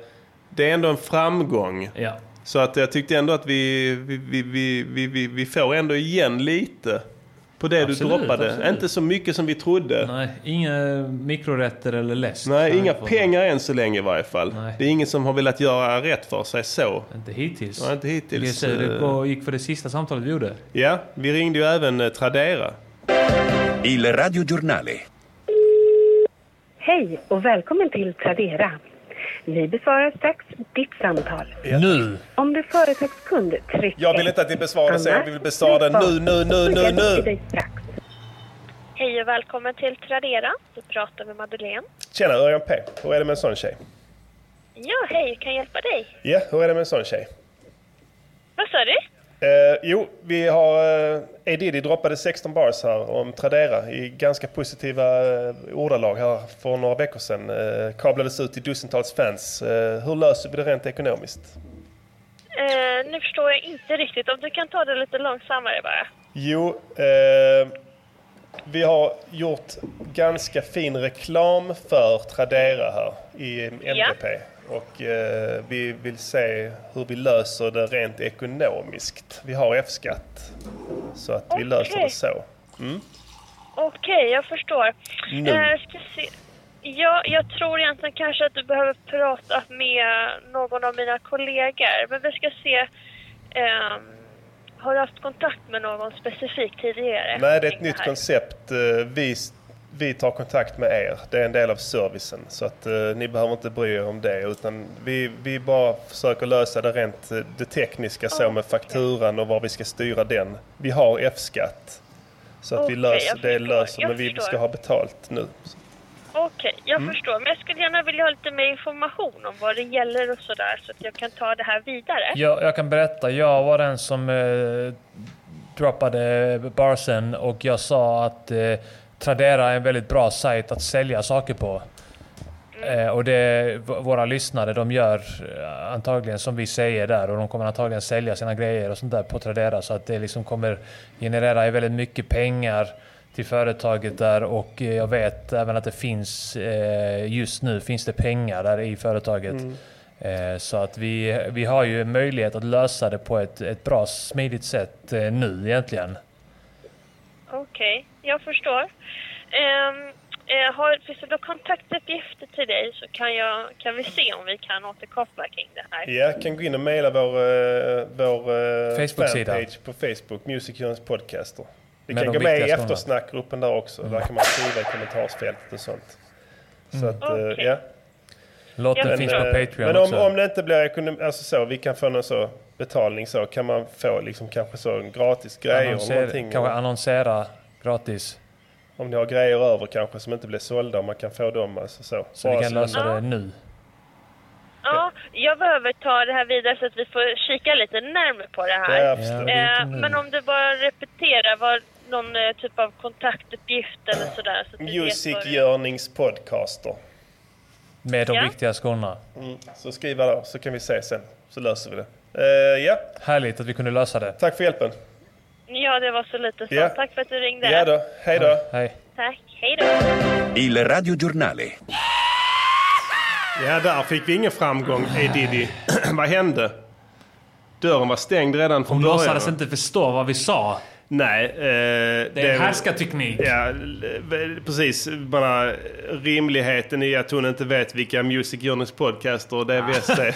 det är ändå en framgång. Ja. Så att jag tyckte ändå att vi, vi, vi, vi, vi, vi, vi får ändå igen lite på det Absolut, du droppade. absolut. Inte så mycket som vi trodde. Nej, inga mikrorätter eller läsk. Nej, inga på- pengar än så länge i varje fall. Nej. Det är ingen som har velat göra rätt för sig så. Inte hittills. Nej, inte hittills. Det, är så det Eh, går- gick för det sista samtalet vi gjorde. Ja, vi ringde ju även eh, Tradera. Il radiogiornale. Hej och välkommen till Tradera. Vi besvarar strax ditt samtal. Nu! Om du är företagskund, tryck Jag vill inte att ni besvarar det sen, jag vill besvara det nu, nu, nu, nu, nu! Hej och välkommen till Tradera. Du pratar med Madeleine. Tjena, Örjan P. Hur är det med en sån tjej? Ja, hej, kan jag hjälpa dig? Ja, hur är det med en sån tjej? Vad sa du? Eh, jo, vi har... Eh, A. Diddy droppade 16 bars här om Tradera i ganska positiva eh, ordalag här för några veckor sedan. Eh, kablades ut till dussintals fans. Eh, hur löser vi det rent ekonomiskt? Eh, nu förstår jag inte riktigt. Om du kan ta det lite långsammare bara. Jo, eh, Vi har gjort ganska fin reklam för Tradera här i MPP. Och eh, vi vill se hur vi löser det rent ekonomiskt. Vi har F-skatt. Så att vi löser det så. Mm. Okej, jag förstår. Nu. Eh, ska se. Ja, jag tror egentligen kanske att du behöver prata med någon av mina kollegor. Men vi ska se. ehm, har du haft kontakt med någon specifik tidigare? Nej, det är ett nytt koncept. Eh, Vi, s- vi tar kontakt med er. Det är en del av servicen. Så att eh, ni behöver inte bry er om det. Utan vi, vi bara försöker lösa det rent eh, det tekniska så med fakturan och var vi ska styra den. Vi har F-skatt. Så att vi Okej, löser jag det förstår. löser, Jag men vi förstår. ska ha betalt nu. Okej, jag Mm. förstår. Men jag skulle gärna vilja ha lite mer information om vad det gäller och sådär så att jag kan ta det här vidare. Jag, jag kan berätta, jag var den som eh, droppade barsen och jag sa att eh, Tradera är en väldigt bra sajt att sälja saker på. Eh, och det v- våra lyssnare, de gör eh, antagligen som vi säger där och de kommer antagligen sälja sina grejer och sånt där på Tradera så att det liksom kommer generera väldigt mycket pengar till företaget där och eh, jag vet även att det finns eh, just nu finns det pengar där i företaget. Mm. Eh, Så att vi, vi har ju möjlighet att lösa det på ett, ett bra, smidigt sätt eh, nu egentligen. Okej, jag förstår. Ehm, eh, har, finns det då kontaktuppgifter till dig så kan, jag, kan vi se om vi kan återkoppla kring det här. Ja, kan gå in och mejla vår, eh, vår eh, Facebook-sida. fanpage på Facebook, Music Journeys Podcaster. Vi Med kan de gå med i viktigaste orden. eftersnackgruppen där också. Där kan man skriva i kommentarsfältet och sånt. Så Mm. att, eh, Okej. ja. Låten Men, finns på eh, Patreon Men om, också. om det inte blir ekonomi, alltså så, vi kan få någon så betalning så, kan man få liksom kanske så en gratis grej eller Annonser- någonting? kanske annonsera gratis. Om ni har grejer över kanske som inte blir sålda, om man kan få dem alltså så. Så vi Bara kan lösa Ja. det nu. Ja, jag behöver ta det här vidare så att vi får kika lite närmare på det här. Ja, jag förstår. Eh, Mm. men om du bara repeterar vad någon eh, typ av kontaktuppgift eller sådär. Så att vi vet Music vad- Yearnings Podcaster. Med de Ja. viktiga skorna. Mm. Så skriva då, så kan vi se sen. Så löser vi det. Eh, ja. Härligt att vi kunde lösa det. Tack för hjälpen. Ja, det var så lite så. Ja. Tack för att du ringde. Ja då. Hej då. Hej. Tack, hej då. Il radiogiornale. Ja, där fick vi ingen framgång, hey Diddy. vad hände? Dörren var stängd redan från Hon början. låtsades inte förstå vad vi sa. Nej. Eh, det är en härskarteknik. Ja, l- precis. Bara rimligheten i att hon inte vet vilka Music Journeys podcaster och DVS är.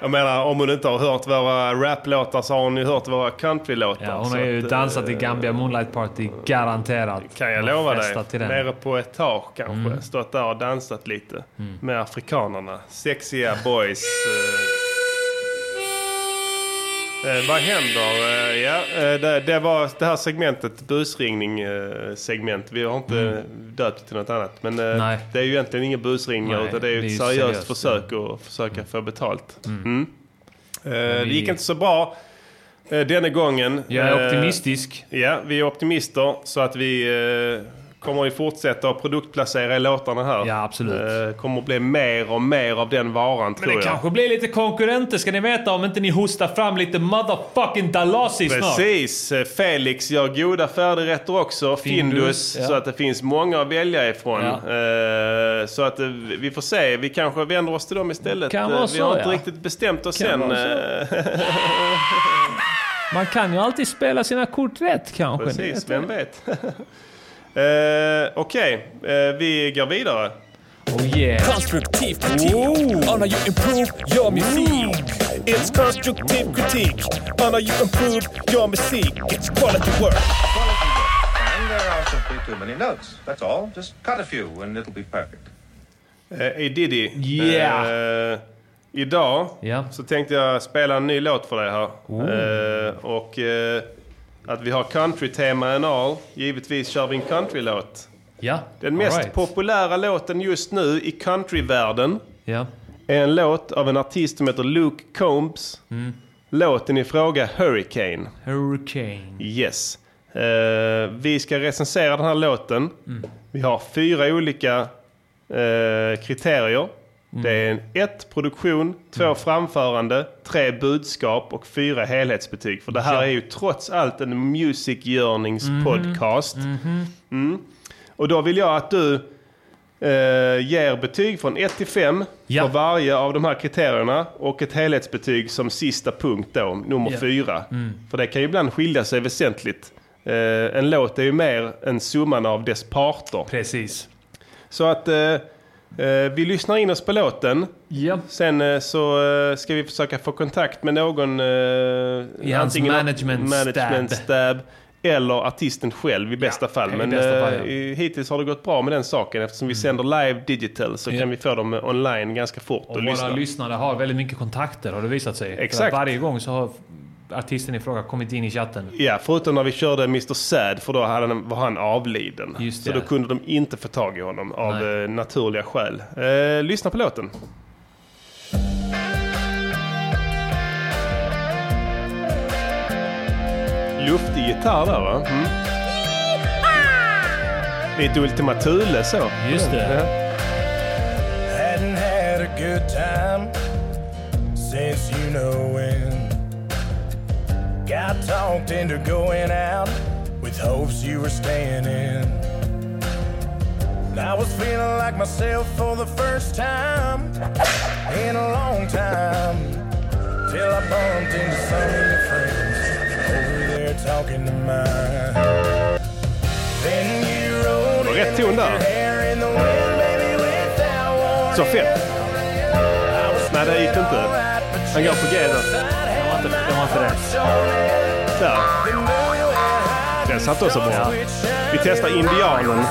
Jag menar, om hon inte har hört våra raplåtar så har hon ju hört våra countrylåtar. Ja, hon Så har ju att, dansat i eh, Gambia Moonlight Party, garanterat. Kan jag Och lova festat dig. Till den. Nere på etage kanske. Mm. Stått där och dansat lite. Med afrikanerna. Sexiga boys. eh. Eh, vad händer? Eh, ja, eh, det, det var det här segmentet, busringning eh, segment. Vi har inte Mm. döpt till något annat. Men eh, det är ju egentligen inga busringningar Nej, utan det är ju ett det seriöst, försök att försöka få betalt. Mm. Eh, det vi- gick inte så bra eh, denna gången. Jag är Eh, optimistisk. Ja, vi är optimister så att vi eh, kommer ju fortsätta att produktplacera i låtarna här. Ja, absolut. kommer att bli mer och mer av den varan tror Men det jag. kanske blir lite konkurrenter ska ni veta om inte ni hostar fram lite motherfucking dalasi snart. Precis! Eh, Felix gör goda färdigrätter också. Findus. Findus, ja. Så att det finns många att välja ifrån. Ja. Eh, så att eh, vi får se. Vi kanske vänder oss till dem istället. Kan vara Eh, vi så, har inte ja. riktigt bestämt oss Kan än. vara Eh, Man kan ju alltid spela sina kort rätt kanske. ni Precis, vet vem vet? Eh, Okej, eh, vi går vidare. Oh yeah. Konstruktiv kritik on how you improve your music. It's constructive critique on how you improve your music. It's quality work. And there are simply too many notes. That's all. Just cut a few and it'll be perfect. Eh, A Diddy. Yeah. Eh, idag så tänkte jag spela en ny låt för dig här. Eh, och eh, att vi har country-tema and all. Givetvis kör vi en country-låt. Ja, Den mest all right. populära låten just nu i countryvärlden Ja. är en låt av en artist som heter Luke Combs. Mm. Låten i fråga Hurricane. Hurricane. Yes. Eh, vi ska recensera den här låten. Mm. Vi har fyra olika eh, kriterier. Mm. Det är en 1 produktion, 2 framförande, 3 budskap och 4 helhetsbetyg. För det här Ja. Mm-hmm. är ju trots allt en music yearnings podcast. Mm. Och då vill jag att du eh, ger betyg från 1 till 5 för varje av de här kriterierna och ett helhetsbetyg som sista punkt då, nummer Ja. 4. Mm. För det kan ju ibland skilja sig väsentligt. Eh, en låt är ju mer än summan av dess parter. Precis. Så att eh, eh, vi lyssnar in oss på låten. Sen eh, så eh, ska vi försöka få kontakt med någon. Eh, I hans management management stab. stab. Eller artisten själv i bästa fall. i Men bästa fall, eh, ja. Mm. i- hittills har det gått bra med den saken. Eftersom vi sänder live digital så kan vi få dem eh, online ganska fort. Och våra lyssnare har väldigt mycket kontakter har det visat sig. För Exakt. att Varje gång så har artisten i fråga kommit in i chatten. Ja, förutom när vi körde Mr Sad, för då hade han, var han avliden. så det. då kunde de inte få tag i honom av eh, naturliga skäl. Eh, lyssna på låten. Luftig gitarr där va? Mm. Lite Ultima Thule så. Just det. Hadn't had a good time since you know when. Got talked into going out with hopes you were staying in. And I was feeling like myself for the first time in a long time. Till I bumped into some of your friends over there talking to mine. Then you rolled Och in rätt ton där. hair in the wind, baby, without warning. Så fett. Nej, det gick inte. Han går på G där. Det var inte, det var inte det. Där. Den satt också bra. Vi testar Indianen.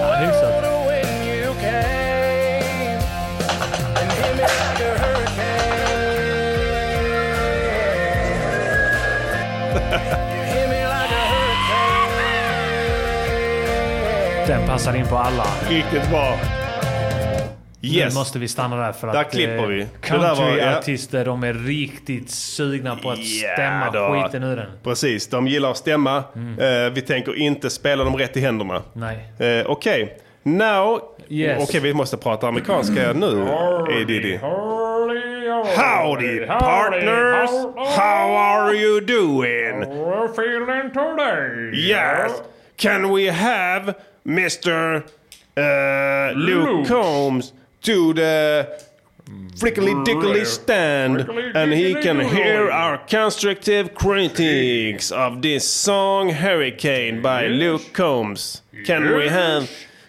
Ja, hyfsat. Den passar in på alla. Riktigt bra. Yes. Nu måste vi stanna där för att... Där klipper vi. eh, Det där var- ja. Countryartister, de är riktigt sugna på att Ja, stämma då. skiten ur den. Mm. Precis, de gillar att stämma. Eh, vi tänker inte spela dem rätt i händerna. Nej. Eh, Okej, now... Yes. Okej, vi måste prata amerikanska nu, Edidi. Howdy, partners! How are you doing? We're feeling today. Yes. Can we have Mr. Uh, Luke Luke. Combs to the frickly dickly stand and he can hear our constructive critiques of this song Hurricane by Luke Combs? Can we have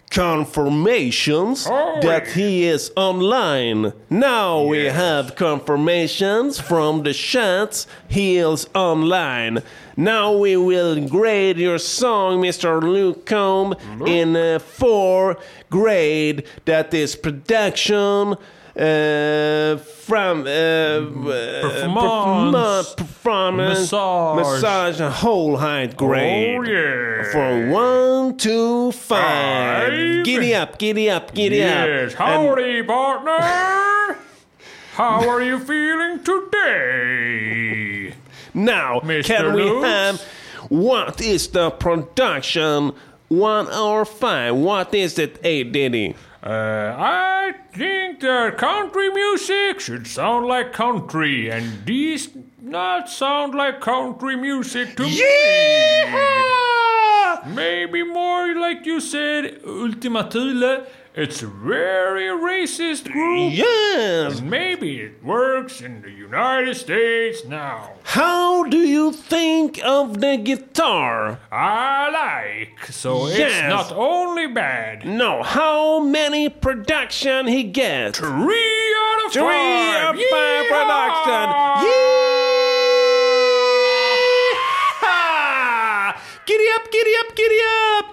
confirmations that he is online? Now we have confirmations from the chats he is online. Now we will grade your song, Mr. Luke Combs, in a four grade that is production. Uh, from uh, Performance. performa- performance, Massage. massage, and whole height grade. Oh, yeah. For one, two, five. Five. Giddy up, giddy up, giddy Yes. up. And Howdy, partner. How are you feeling today? now, can we Lutz? have what is the production? One hour five. What is it, A Diddy? Uh, I think that country music should sound like country, and these not sound like country music to me. Maybe more like you said, Ultima Thule. It's a very racist group. Yes. And maybe it works in the United States now. How do you think of the guitar? I like. So Yes. it's not only bad. No, how many production he gets? Three out of Three five. out of five production. Yeah! Giddy up, giddy up, giddy up!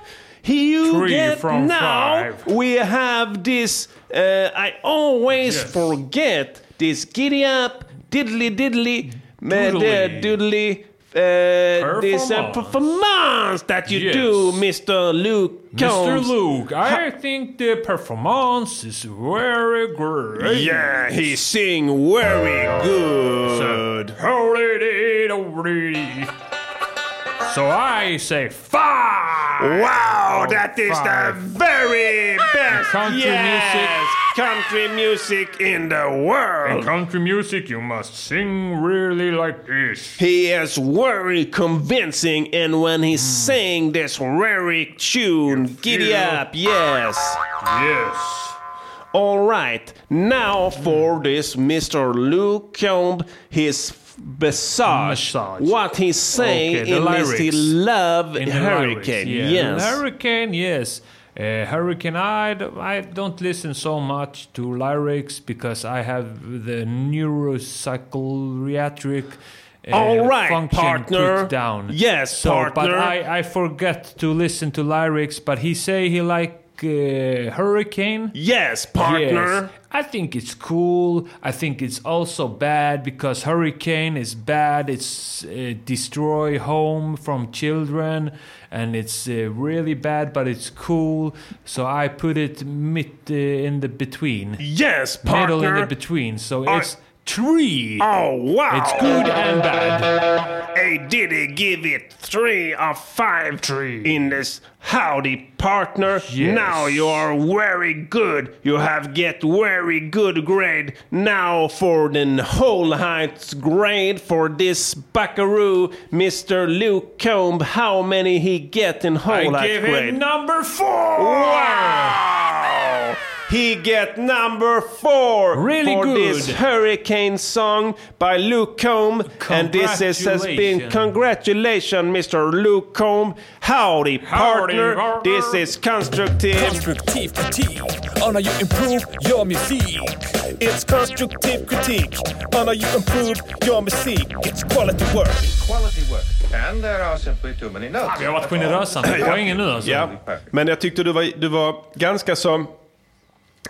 You Three get from now. five. We have this. Uh, I always forget this. Giddy up, diddly diddly, ma- da- doodly. Uh, this uh, Performance. performance that you do, Mr. Luke Mr. Combs. Luke, I think the performance is very great. Yeah, he sing very good. Hold it, it, over it. So I say five. Oh, Wow, that is the very best Country yes, music. country music in the world. In country music, you must sing really like this. He is very convincing, and when Hmm. he sang this very tune, giddy feel- up, yes. Yes. All right, now for Hmm. this Mr. Lucombe, his f- massage. What he's saying Okay, the in this he lyrics. love In the hurricane. lyrics, yeah. Yes. Hurricane, yes. Uh, hurricane, I, d- I don't listen so much to lyrics because I have the neuropsychiatric uh, All right, function partner. kicked down. Yes, so, But partner. I, I forget to listen to lyrics. But he say he like uh, hurricane. Yes, partner. Yes. I think it's cool. I think it's also bad because hurricane is bad. It's uh, destroy home from children, and it's uh, really bad. But it's cool, so I put it mid uh, in the between. Yes, middle in partner. the between. So I- it's three. Oh wow! It's good and bad. A Diddy give it three of five in this howdy partner. Yes. Now you are very good. You have get very good grade. Now for the whole heights grade for this buckaroo, Mr. Luke Combe. How many he get in whole Oh, heights I give grade? him number four. Wow! He get number four Really for this good. Hurricane song by Luke Combe. And this is, has been Congratulations. congratulations, Mr. Luke Combe. Howdy, partner. partner. This is constructive. Constructive critique on how you improve your music. It's constructive critique on how you improve your music. It's quality work. Quality work. And there are simply too many notes. Vi har varit generösa med poängen nu alltså. Ja, men jag tyckte du var, du var ganska så...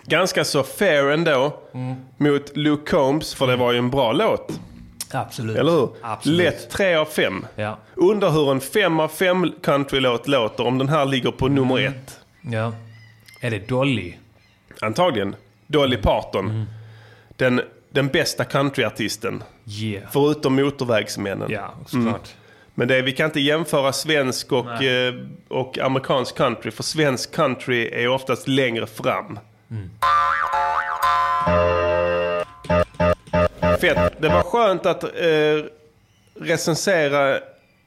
Ganska så fair ändå Mm. mot Luke Combs, för det var ju en bra låt. Absolut. Eller hur? Absolut. Lätt 3 av 5. Ja. Undrar hur en 5 av 5 countrylåt låter om den här ligger på nummer Mm. ett. Ja. Är det Dolly? Mm. Antagligen. Dolly Parton. Den, den bästa countryartisten. Yeah. Förutom motorvägsmännen. Mm. Ja, såklart. Men det, är- vi kan inte jämföra svensk och, Nej. eh, och amerikansk country. För svensk country är oftast längre fram. Mm. Fett. Det var skönt att eh, recensera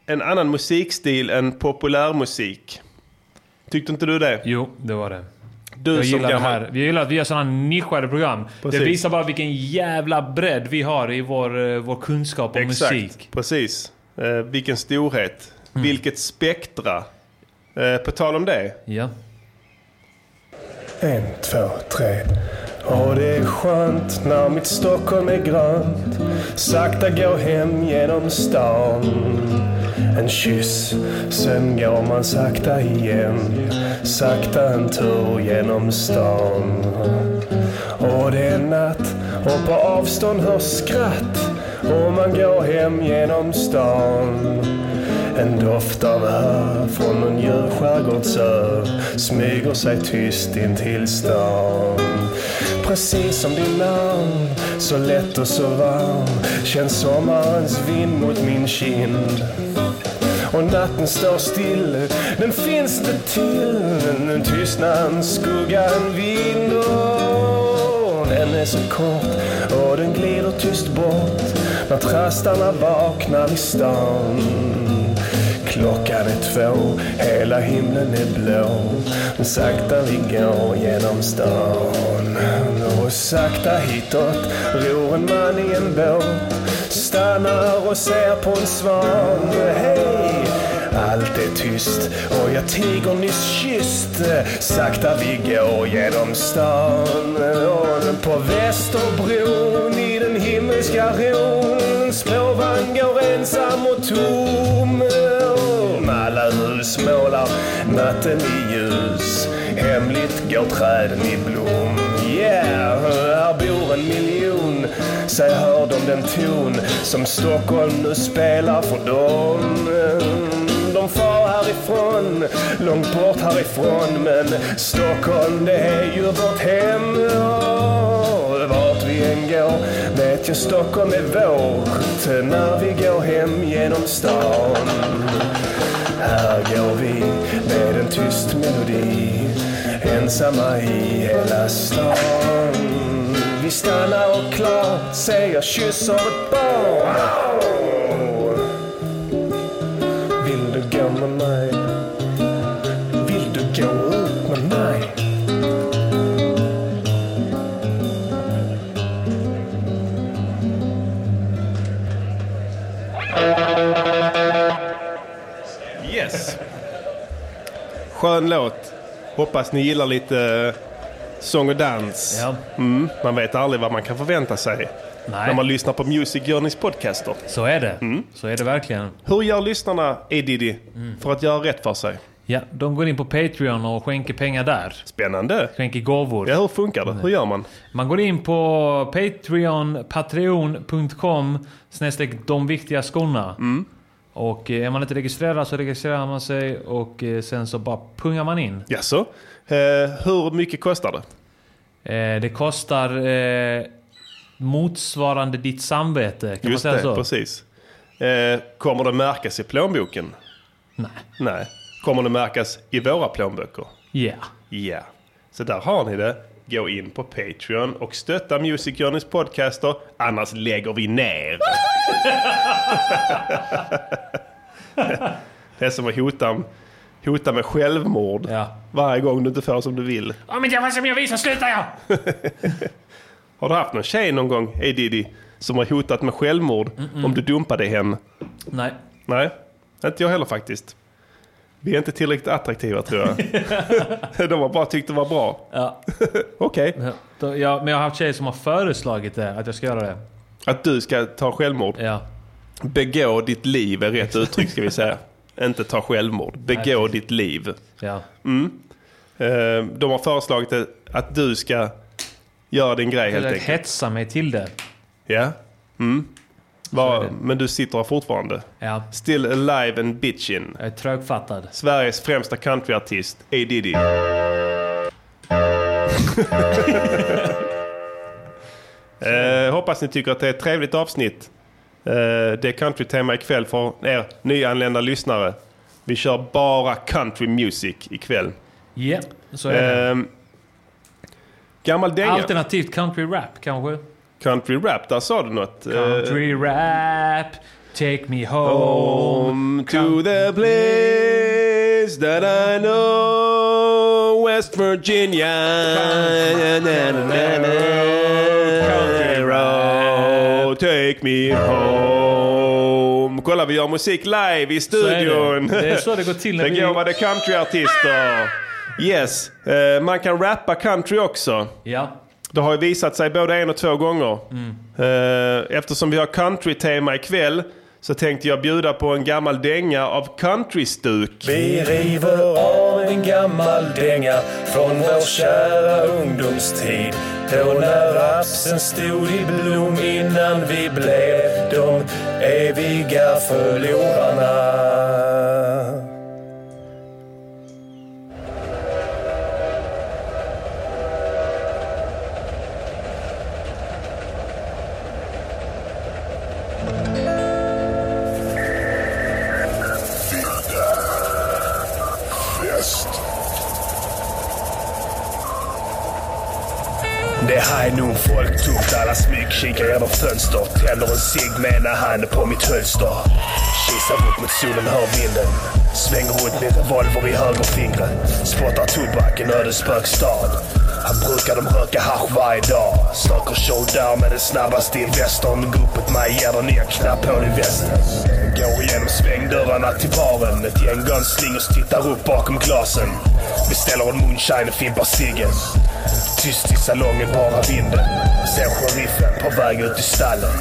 en annan musikstil än populärmusik. Tyckte inte du det? Jo, det var det. Du jag som gillar det gammal- här. Vi gillar att vi gör sådana nischade program. Precis. Det visar bara vilken jävla bredd vi har i vår, eh, vår kunskap om Exakt, musik. Mm. precis. Eh, vilken storhet. Vilket spektra. Eh, på tal om det. Ja. En, två, tre. Och det är skönt när mitt Stockholm är grönt. Sakta gå hem genom stan. En kyss, sen går man sakta igen. Sakta en tur genom stan. Och det är natt och på avstånd hörs skratt. Och man går hem genom stan. En doft av hö från någon djur skärgårdsö smyger sig tyst in till stan. Precis som din namn, så lätt och så varm känns sommarens vind mot min kind. Och natten står still, den finns inte till. Nu tystnar en skugga, en vind och den är så kort och den glider tyst bort när trastarna vaknar i stan. Klockan är två, hela himlen är blå. Men sakta vi går genom stan. Och sakta hitåt ror en man i en båt. Stannar och ser på en svan. Hej! Allt är tyst och jag tiger nyss kysst. Sakta vi går genom stan. Och på Västerbron i den himmelska ron. En spårvagn går ensam och tom. Om Alla hus målar natten i ljus. Hemligt går träden i blom. Yeah, här bor en miljon. Säg hör de den ton som Stockholm nu spelar för dem. De far härifrån härifrån, långt bort härifrån. Men Stockholm det är ju vårt hem. Och Vart vi än går vet jag Stockholm är vårt. När vi går hem genom stan. Här går vi med en tyst melodi. Ensamma i hela stan. Vi stannar och klart säger kyss av ett barn. Vill du gå med mig? Vill du gå ut med mig? Yes. Skön låt. Hoppas ni gillar lite eh, sång och dans. Mm, man vet aldrig vad man kan förvänta sig Nej. när man lyssnar på Music Journeys podcaster. Mm. Så är det. Så är det verkligen. Mm. Hur gör lyssnarna, Edidi, för att göra rätt för sig? Ja, de går in på Patreon och skänker pengar där. Spännande. Skänker gåvor. Ja, hur funkar det? Hur gör man? Man går in på Patreon, patreon.com snedstreck de viktiga skorna. Hmm? Och eh, är man inte registrerad så registrerar man sig och eh, sen så bara pungar man in. Jaså? Eh, hur mycket kostar det? det kostar eh, motsvarande ditt samvete. Kan Just man det, säga så? precis. Eh, kommer det märkas i plånboken? Nej. Nej. Kommer det märkas i våra plånböcker? Ja. Ja. Så där har ni det. Gå in på Patreon och stötta Music Journeys podcaster, annars lägger vi ner. det är som att hota, hota med självmord varje gång du inte får som du vill. Om inte jag får som jag vill så slutar jag! Har du haft någon tjej någon gång, hey Diddy, som har hotat med självmord Mm-mm. om du dumpade henne? Nej. Nej, inte jag heller faktiskt. Vi är inte tillräckligt attraktiva tror jag. De har bara tyckt det var bra. Ja. Okej. Då- Ja, men jag har haft tjejer som har föreslagit det, att jag ska göra det. Att du ska ta självmord? Ja. Begå ditt liv är rätt uttryck ska vi säga. inte ta självmord. Begå ditt liv. Ja. Mm. Eh, De har föreslagit det- att du ska göra din grej helt Eller enkelt. hetsa mig till det. Ja. Mm. Var, men du sitter här fortfarande. Ja. Still alive and bitchin. Jag är trögfattad. Sveriges främsta countryartist, A. Diddy. eh, hoppas ni tycker att det är ett trevligt avsnitt. Eh, det är countrytema ikväll för er nyanlända lyssnare. Vi kör bara country music ikväll. Ja, så är det. Ehm, gammal dänga. Alternativt country rap kanske? Eh, Country rap, där sa du något. Eh, Country rap, take me home. Home to the place that I know, West Virginia. Na, na, na, na, na. Road, Take me home. Kolla, vi gör musik live i är det. studion. Det är så det går till när vi- Begåvade countryartister. Yes, eh, man kan rappa country också. Ja. Det har ju visat sig både en och två gånger. Mm. Eh, Eftersom vi har countrytema ikväll så tänkte jag bjuda på en gammal dänga av countrystuk. Vi river av en gammal dänga från vår kära ungdomstid. Då när rapsen stod i blom innan vi blev de eviga förlorarna. Det här är nog folktomt, alla smygkikar genom fönster. Tänder en cigg med ena handen på mitt hölster. Kisar upp mot solen, hör vinden. Svänger runt min revolver i högerfingret. Spottar tobak, en ödesbög stad. Här brukar de röka hasch varje dag. Söker showdown med den snabbaste i västern. Gruppet mig ger den nya knapphål i västen. Går igenom svängdörrarna till baren. Ett gäng gunslingers tittar upp bakom glasen. Beställer en moonshine och fimpar ciggen. Tyst i salongen, bara vinden. Ser sheriffen på väg ut i stallen.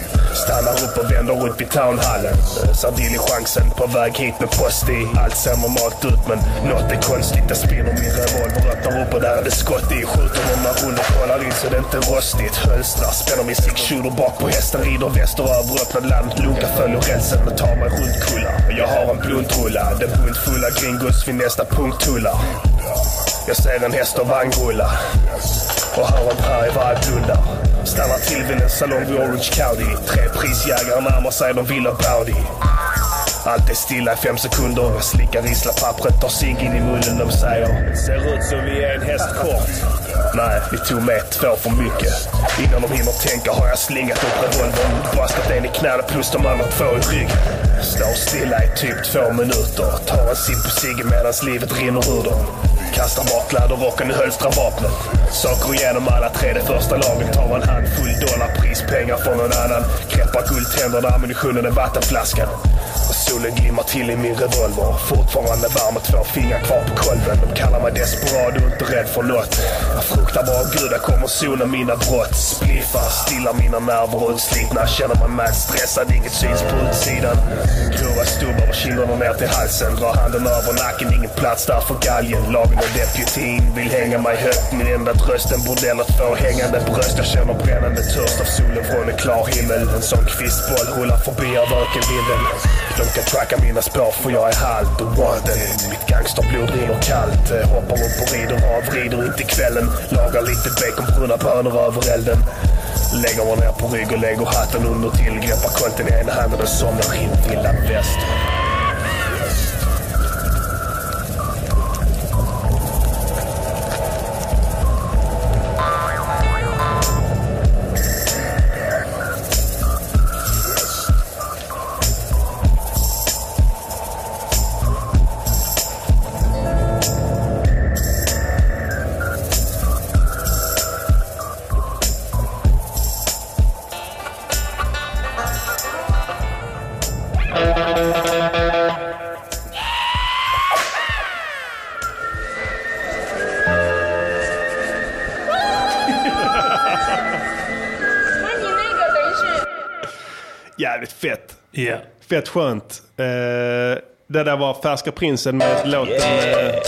Stannar upp och vänder upp i townhallen. Ösar diligensen på väg hit med post i. Allt ser normalt ut men något är konstigt. Jag spinner min revolver, öppnar upp och där är det skott i. Skjuter några rundor, kollar in så det inte är rostigt. Hölstrar, spänner min six shooter bak på hästen. Rider väster över öppnad land. Lunka följer rälsen och tar mig runt kullar. Jag har en bluntrulla. Det buntfulla gringos vid nästa punkttullar. Jag ser en häst och vagnrulla. Och hör en prärievarg blunda. Stannar till vid en salong vid Orange County. Tre prisjägare närmar sig, de vill ha Baudi. Allt är stilla i fem sekunder. Jag slickar rislapappret, tar cigg in i munnen. De säger... Ser ut som vi är en häst kort. Nej, vi tog med två för mycket. Innan de hinner tänka har jag slingat upp revolvern. Bastat en i knäna plus de andra två i ryggen. Står stilla i typ två minuter. Tar en sipp på ciggen medan livet rinner ur dem. Kastar bak läderrocken och hölstrar vapnet. Saker igenom alla tre. Det första laget tar en handfull dollar prispengar från någon annan. Greppar guldtänderna, ammunitionen är vattenflaskan. Och solen glimmar till i min revolver. Fortfarande varm och två fingrar kvar på kolven. De kallar mig desperat och inte rädd för något. Jag fruktar bara gud, jag kommer sona mina brott. Spliffar, stillar mina nerver utslitna. Känner mig mad stressad, inget syns på utsidan. Grova stubbar och kinderna ner till halsen. Drar handen över nacken, ingen plats där för galgen. Lagen och deputin vill hänga mig högt. Min enda tröst en bordell att få hängande bröst. Jag känner brännande törst av solen från en klar himmel. En sån kvistboll rullar förbi av ökenvinden. De kan tracka mina spår för jag är halt och wanted. Mitt gangsterblod rinner kallt. Eh, Hoppar upp och rider av, rider inte kvällen. Lagar lite baconbruna bönor över elden. Lägger mig ner på rygg och lägger hatten under till. Greppar kolten i ena handen och somnar in vilda väst. Jävligt fett. Fett skönt. Eh, det där var Färska Prinsen med låten... eh,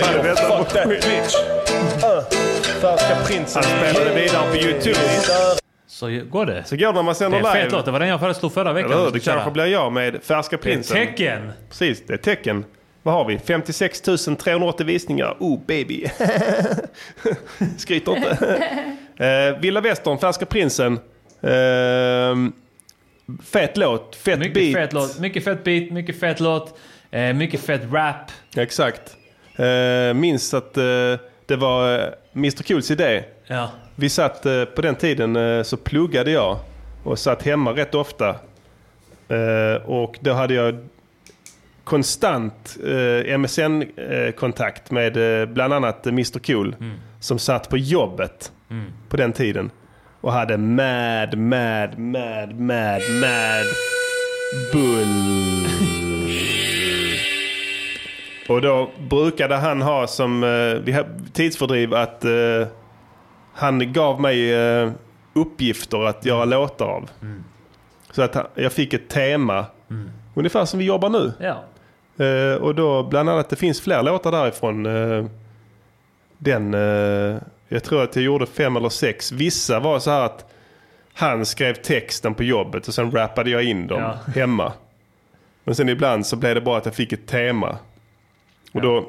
Fan, jag vet inte vad- Färska prinsen. Han spelade vidare på YouTube. Så ju- går det. Så går det när man sänder Det är en live. fet låt. Det var den jag föreslog förra veckan. Eller hur? vi Det skulle kanske köra. blir jag med Färska Det är Prinsen. tecken. Precis, det är tecken. Vad har vi? 56 380 visningar. Oh baby. Skryter inte. eh, Villa Västern, Färska Prinsen. Eh, fet låt, fett Mycket beat. fet låt. Mycket fett beat, mycket fet låt, eh, mycket fett rap. Exakt. Eh, minns att eh, det var eh, Mr Cools idé. Ja. Vi satt eh, på den tiden eh, så pluggade jag och satt hemma rätt ofta. Eh, och då hade jag konstant eh, MSN-kontakt med eh, bland annat eh, Mr Cool Mm. som satt på jobbet Mm. på den tiden och hade mad, mad, mad, mad, mad bull. och då brukade han ha som eh, vi har- tidsfördriv att eh, han gav mig eh, uppgifter att göra låtar av. Mm. Så att han- jag fick ett tema. Ungefär som vi jobbar nu. Ja. Eh, och då bland annat, det finns fler låtar därifrån. Eh, den, eh, jag tror att jag gjorde fem eller sex. Vissa var så här att han skrev texten på jobbet och sen rappade jag in dem Ja. hemma. Men sen ibland så blev det bara att jag fick ett tema. Och då,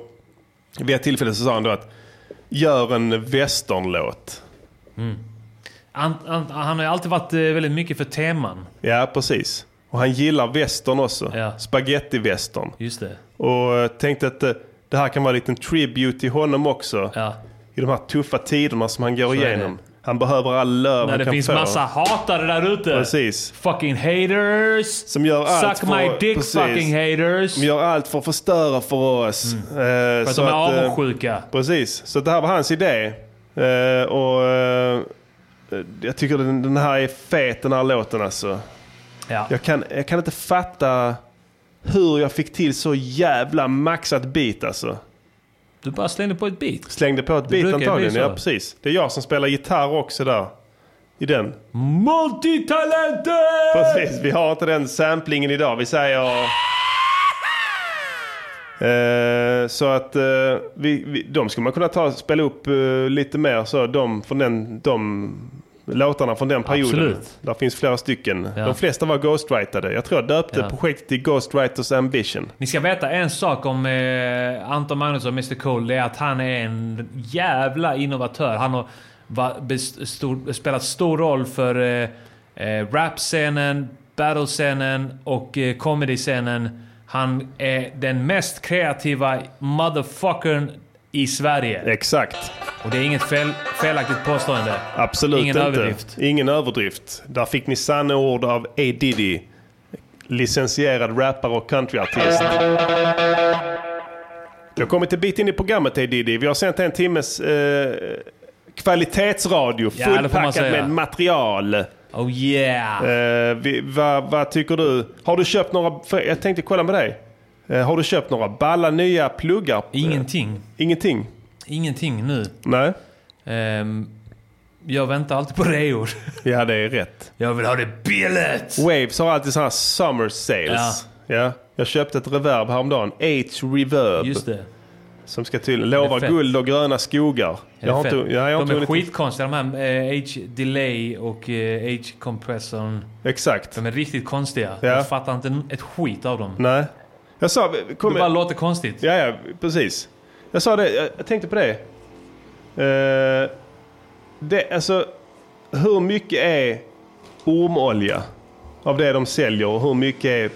vid ett tillfälle så sa han då att gör en westernlåt. Han, han, han har ju alltid varit eh, väldigt mycket för teman. Ja, precis. Och han gillar västern också. Spagetti-västern. Just det. Och eh, tänkte att eh, det här kan vara en liten tribute till honom också. I de här tuffa tiderna som han går Så är igenom. Han behöver all lön När han det kan finns få. massa hatare där ute. Precis. Fucking haters. Som gör allt Suck för, my dick precis. fucking haters. Mm. De gör allt för att förstöra för oss. Eh, För att så de är eh, avundsjuka. Precis, så det här var hans idé. Eh, och eh, jag tycker den, den här är fet den här låten alltså. Ja. Jag, kan, jag kan inte fatta hur jag fick till så jävla maxat beat alltså. Du bara slängde på ett beat? Slängde på ett Det beat brukar ju antagligen, bli så. ja precis. Det är jag som spelar gitarr också där. I den. Multitalenter! Precis, vi har inte den samplingen idag. Vi säger... Eh, så att eh, vi, vi, de skulle man kunna ta, spela upp eh, lite mer så, de från den, de låtarna från den perioden. Absolut. Där finns flera stycken. Ja. De flesta var ghostwritade. Jag tror jag döpte Ja. projektet till Ghostwriters Ambition. Ni ska veta en sak om eh, Anton Magnusson, Mr Cool. Det är att han är en jävla innovatör. Han har va, best, stor, spelat stor roll för eh, eh, rapscenen, battlescenen och eh, comedyscenen. Han är den mest kreativa motherfuckern i Sverige. Exakt. Och det är inget fel, felaktigt påstående. Absolut Ingen inte. överdrift. Ingen överdrift. Där fick ni sanna ord av A. Diddy. Licensierad rappare och countryartist. Vi har kommit en bit in i programmet A. Diddy. Vi har sänt en timmes eh, kvalitetsradio Ja, det får man fullpackad säga. med material. Oh yeah! Eh, vi, vad, vad tycker du? Har du köpt några... för Jag tänkte kolla med dig. Eh, har du köpt några balla nya pluggar? Ingenting. ingenting? Ingenting nu. Nej. Ehm, jag väntar alltid på reor. Ja, det är rätt. Jag vill ha det billigt! Waves har alltid sådana här summer sales. Ja. Jag köpte ett reverb häromdagen. H-reverb. Just det. Som ska till Det lova är fett. guld och gröna skogar. Är det har fett? inte, ja, jag har de inte är hunnit- skitkonstiga de här eh, H-delay och eh, H-compressorn. Exakt. De är riktigt konstiga. Ja. Jag fattar inte ett skit av dem. Nej. Jag sa... Kom det bara låter konstigt. Ja, ja, precis. Jag sa det, jag, jag tänkte på det. Eh, det. Alltså, hur mycket är ormolja av det de säljer och hur mycket är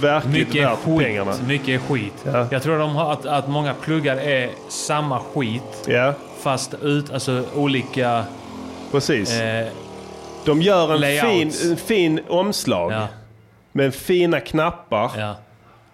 verkligt Mycket värt skit. pengarna? Mycket är skit. Ja. Jag tror de har att, att många pluggar är samma skit. Ja. Fast ut, alltså olika... eh, Precis. de gör en fin, layouts. en fin omslag med fina knappar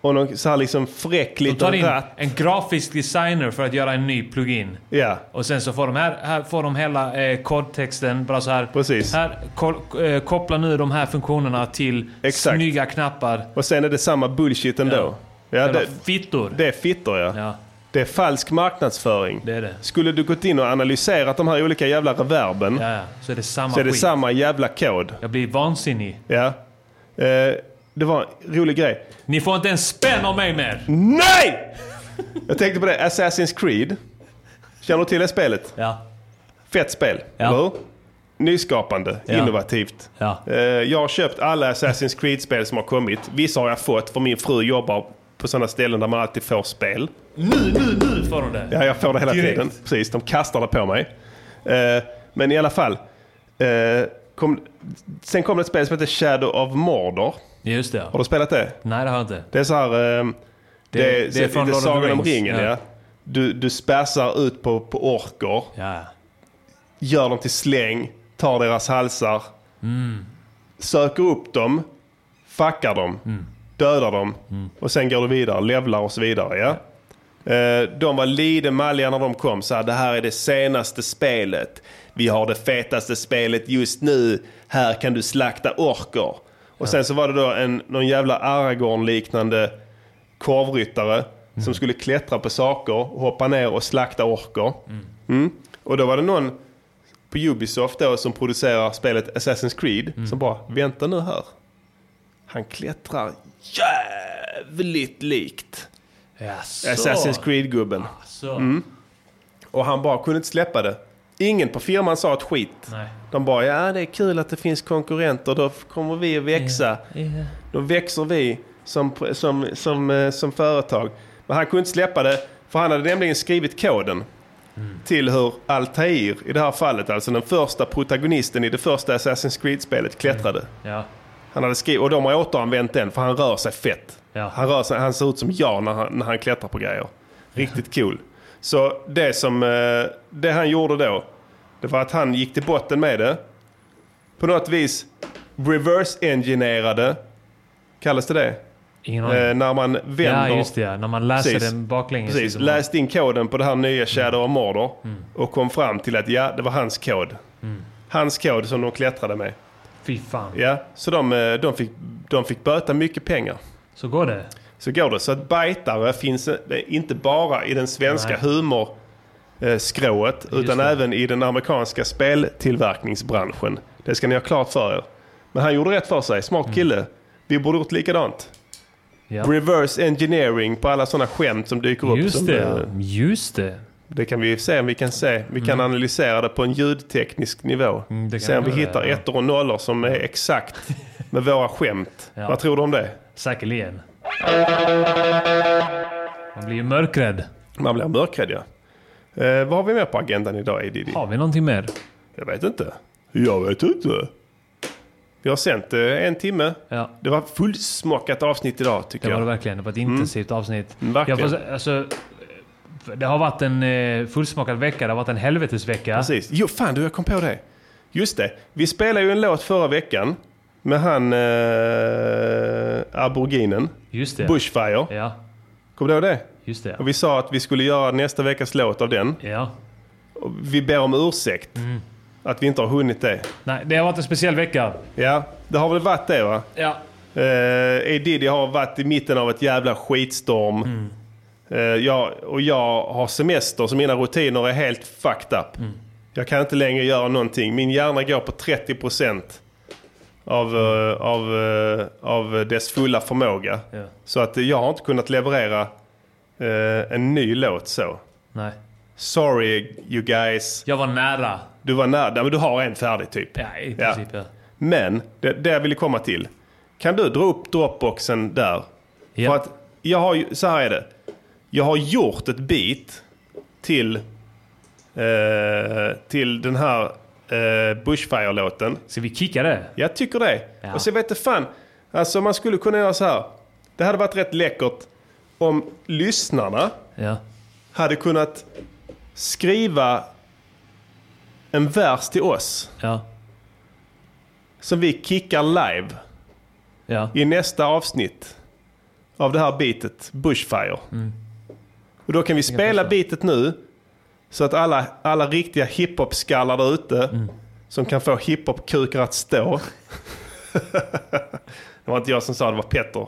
och någon så här liksom fräck De tar liten in ratt. en grafisk designer för att göra en ny plugin. Ja. Och sen så får de här, här får de hela eh, kodtexten bara så här. Precis. Här, ko- eh, koppla nu de här funktionerna till Exakt. snygga knappar. Och sen är det samma bullshit ändå. Ja. Jävla det, fittor. Det är fittor ja. Det är falsk marknadsföring. Det är det. Skulle du gått in och analyserat de här olika jävla reverben Så är det samma så är det skit. samma jävla kod. Jag blir vansinnig. Ja. Eh, det var en rolig grej. Ni får inte en spänn av mig mer! Nej! Jag tänkte på det. Assassin's Creed. Känner du till det spelet? Ja. Fett spel, eller hur? Nyskapande, Ja. innovativt. Eh, Jag har köpt alla Assassin's Creed-spel som har kommit. Vissa har jag fått för min fru jobbar på sådana ställen där man alltid får spel. Nu, nu, nu får de det! Ja, jag får det hela Direkt. tiden. Precis, de kastar det på mig. Eh, men i alla fall. eh, kom, sen kom det ett spel som heter Shadow of Mordor. Just det. Har du spelat det? Nej, det har jag inte. Det är så här... ehm, Det- det, är, det är från Lord of the Sagan om Rings, ringen, ja. ja. Du, du spassar ut på, på orker. Gör dem till släng. Tar deras halsar. Mm. Söker upp dem. Fuckar dem. Dödar dem. Och sen går du vidare. Levlar och så vidare, ja. Eh, De var lite malliga när de kom. Så här, det här är det senaste spelet. Vi har det fetaste spelet just nu. Här kan du slakta orker. Och sen så var det då en, någon jävla Aragorn-liknande korvryttare som skulle klättra på saker, hoppa ner och slakta orker. Mm. Och då var det någon på Ubisoft då som producerar spelet Assassin's Creed som bara, vänta nu här. Han klättrar jävligt likt Jaså. Assassin's Creed-gubben. Ah, Jaså. Mm. Och han bara kunde inte släppa det. Ingen på firman sa ett skit. Nej. De bara, ja det är kul att det finns konkurrenter, då kommer vi att växa. Då växer vi som, som, som, eh, som företag. Men han kunde inte släppa det, för han hade nämligen skrivit koden Mm. till hur Altair, i det här fallet, alltså den första protagonisten i det första Assassin's Creed-spelet, klättrade. Mm. Ja. Han hade skrivit, och de har återanvänt den, för han rör sig fett. Ja. Han, rör sig, han ser ut som jag när han, när han klättrar på grejer. Riktigt cool. Så det, som, eh, det han gjorde då, det var att han gick till botten med det. På något vis reverse-engineerade, kallas det det? Ingen aning. Eh, när man vänder... Ja, just det, ja. När man läser Precis. den baklänges. Precis, liksom. läste in koden på det här nya Shadow of Mordor och kom fram till att ja, det var hans kod. Mm. Hans kod som de klättrade med. Fy fan. Ja, så de, eh, de, fick, de fick böta mycket pengar. Så går det. Så går det. Så att bajtare finns eh, inte bara i den svenska Nej. humorskrået eh, utan det. även i den amerikanska speltillverkningsbranschen. Det ska ni ha klart för er. Men han gjorde rätt för sig. Smart kille. Vi borde gjort likadant. Mm. Ja. Reverse engineering på alla sådana skämt som dyker upp. Just som, det. eh, Just det. Mm. Det kan vi se om vi kan se. Vi kan analysera det på en ljudteknisk nivå. det se kan om vi vi göra, hittar ja. ettor och nollor som är exakt med våra skämt. Ja. Vad tror du om det? Säkerligen. Man blir ju mörkrädd. Man blir mörkrädd ja. Eh, vad har vi mer på agendan idag Edidi? Har vi någonting mer? Jag vet inte. Jag vet inte. Vi har sänt eh, en timme. Det var fullsmockat avsnitt idag tycker Det var jag. Mm. det verkligen. Det var ett intensivt avsnitt. verkligen. Jag får, sä- alltså, det har varit en eh, fullsmakad vecka. Det har varit en helvetesvecka. Precis. Jo, fan du, jag kom på det. Just det, vi spelade ju en låt förra veckan med han eh, aboriginen. Just det. Bushfire. Ja. Kommer du ihåg det? Just det. Och vi sa att vi skulle göra nästa veckas låt av den. Ja. Och vi ber om ursäkt Mm. att vi inte har hunnit det. Nej, det har varit en speciell vecka. Ja, det har väl varit det va? Ja. Eh, A. Diddy har varit i mitten av ett jävla skitstorm. Mm. Eh, jag, och jag har semester så mina rutiner är helt fucked up. Mm. Jag kan inte längre göra någonting. Min hjärna går på 30% av, eh, av, eh, av dess fulla förmåga. Ja. Så att eh, jag har inte kunnat leverera eh, en ny låt så. Nej. Sorry you guys. Jag var nära. Du var nära. Ja, Men du har en färdig typ. Ja, i princip ja. Men, det, det jag ville komma till. Kan du dra upp Dropboxen där? För att jag har ju, så här är det. Jag har gjort ett beat till, eh, till den här eh, Bushfire-låten. Ska vi kicka det? Jag tycker det. Ja. Och så vet du fan, alltså man skulle kunna göra så här. Det hade varit rätt läckert om lyssnarna Ja. hade kunnat skriva en vers till oss. Ja. Som vi kickar live. Ja. I nästa avsnitt av det här bitet, Bushfire. Mm. Och då kan vi spela bitet nu. Så att alla, alla riktiga hiphop-skallar där ute. Mm. Som kan få hiphop-kukar att stå. det var inte jag som sa det, det var Petter.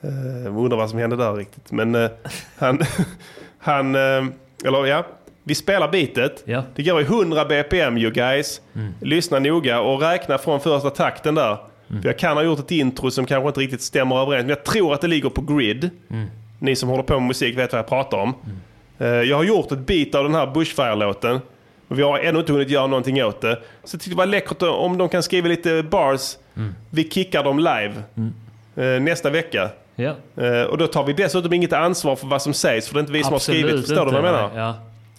Eh, Jag undrar vad som hände där riktigt. Men eh, han... han eh, eller ja, vi spelar bitet. Det går i 100 BPM you guys. Lyssna noga och räkna från första takten där. För jag kan ha gjort ett intro som kanske inte riktigt stämmer överens. Men jag tror att det ligger på grid. Mm. Ni som håller på med musik vet vad jag pratar om. Eh, Jag har gjort ett bit av den här Bushfire-låten. Och vi har ännu inte hunnit göra någonting åt det. Så jag tyckte det var läckert om de kan skriva lite bars. Mm. Vi kickar dem live eh, nästa vecka. Ja. Eh, Och då tar vi dessutom inget ansvar för vad som sägs. För det är inte vi som Absolut har skrivit. Förstår du vad jag inte, menar? nej. Ja.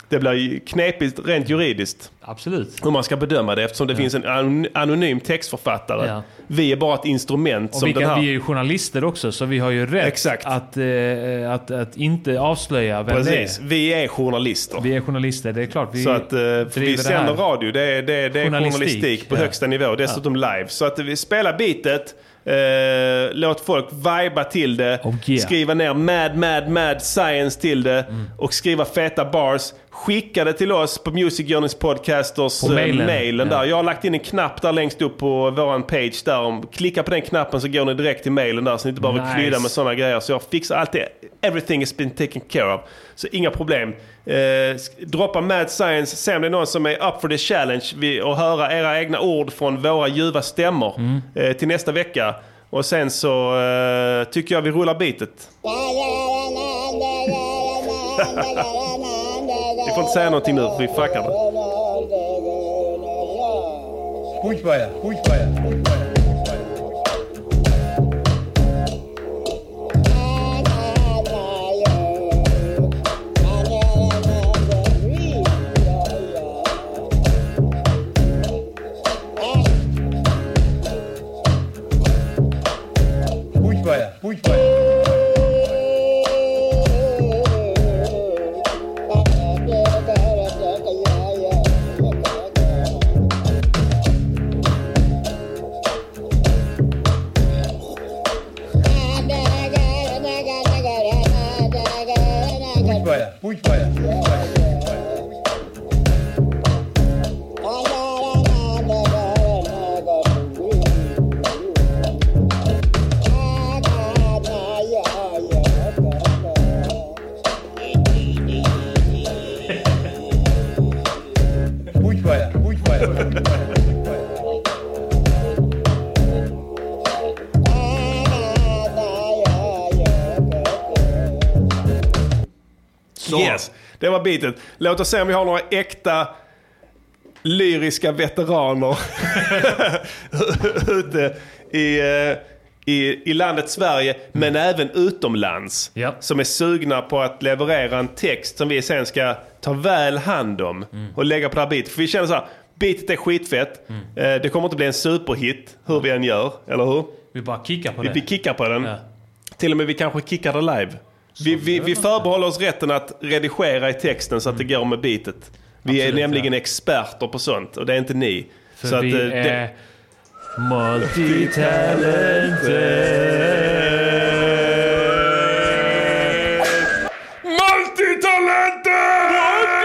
Det blir ju knepigt rent juridiskt. Absolut. Hur man ska bedöma det eftersom det finns en an- anonym textförfattare. Ja. Vi är bara ett instrument Och som vi, den här... kan, vi är ju journalister också, så vi har ju rätt Att, eh, att, att inte avslöja vem Precis, det är. vi är journalister. Vi är journalister, det är klart. Vi så att, eh, för driver vi det sänder här. radio, det är, det är, det är journalistik, Journalistik, på ja. högsta nivå. Dessutom live. Så att vi spelar bitet, eh, låt folk viba till det, Oh, yeah. Mm. skriva ner mad, mad, mad science till det och skriva feta bars. Skicka det till oss på Music Journeys Podcasters På eh, mailen. mailen där. Ja. Jag har lagt in en knapp där längst upp på våran page där. Om, klicka på den knappen så går ni direkt till mailen där så ni inte behöver Nice. klydda med sådana grejer. Så jag fixar allt det. Everything has been taken care of. Så inga problem. Eh, sk- droppa Mad Science. Se om det är någon som är up for the challenge vi, och höra era egna ord från våra ljuva stämmor eh, till nästa vecka. Och sen så eh, tycker jag vi rullar bitet. Vi får inte säga någonting nu för vi fuckar det. Bushfire, bushfire, bushfire. Bushfire, bushfire. Bushfire, bushfire, bushfire. Bushfire, bushfire, bushfire. Så. Yes, det var beatet. Låt oss se om vi har några äkta lyriska veteraner ute i, eh, i, i landet Sverige, men Mm. även utomlands. Som är sugna på att leverera en text som vi sen ska ta väl hand om Mm. och lägga på det här beatet. För vi känner så här, beatet är skitfett. Eh, Det kommer inte bli en superhit hur vi än gör, eller hur? Vi bara kickar på vi, det. Vi kickar på den. Till och med vi kanske kickar det live. Vi, vi, vi förbehåller oss rätten att redigera i texten så att det går med bitet. Vi är Mm. Absolut, nämligen experter på sånt och det är inte ni. För så att, vi eh, det- är multitalented. Multitalenter!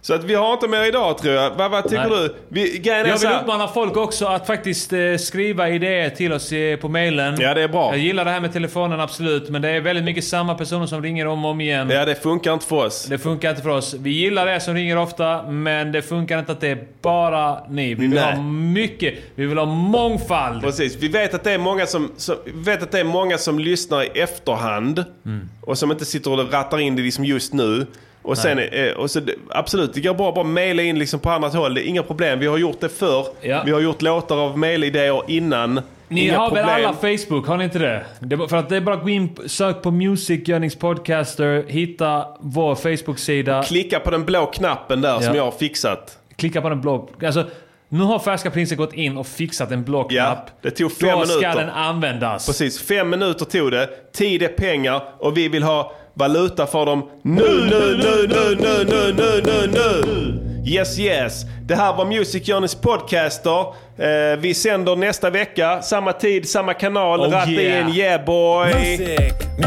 Så att vi har inte mer idag tror jag. Vad, vad tycker Nej. du? Vi, grejen är Jag så vill här, uppmana folk också att faktiskt eh, skriva idéer till oss eh, på mailen. Ja, det är bra. Jag gillar det här med telefonen, absolut. Men det är väldigt mycket samma personer som ringer om och om igen. Ja, det funkar inte för oss. Det funkar inte för oss. Vi gillar det som ringer ofta, men det funkar inte att det är bara ni. Vi vill Nej. ha mycket. Vi vill ha mångfald. Precis. Vi vet att det är många som, som, vi vet att det är många som lyssnar i efterhand Mm. och som inte sitter och rattar in det liksom just nu. Och sen, eh, och så, absolut, det går bra att bara mejla in liksom på annat håll. Det är inga problem. Vi har gjort det förr. Vi har gjort låtar av mejlidéer innan. Ni inga har problem. väl alla Facebook, har ni inte det? det är bara- för att det är bara att gå in, sök på Music Yearnings Podcaster, hitta vår Facebook-sida. Klicka på den blå knappen där som jag har fixat. Klicka på den blå. Alltså, nu har Färska Prinsen gått in och fixat en blå knapp. Det tog Då fem minuter. ska den användas. Precis, fem minuter tog det. Tid är pengar och vi vill ha valuta för dem nu, nu, nu, nu, nu, nu, nu, nu, nu. Yes, yes. Det här var Music Journeys podcaster. Eh, vi sänder nästa vecka. Samma tid, samma kanal. Oh, Ratta yeah. in, yeah boy. Music,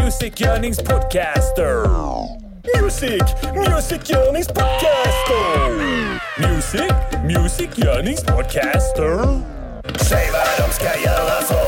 Music Yearnings Podcaster. Music, Music Yearnings Podcaster. Music, Music Yearnings Podcaster. Säg vad de ska göra för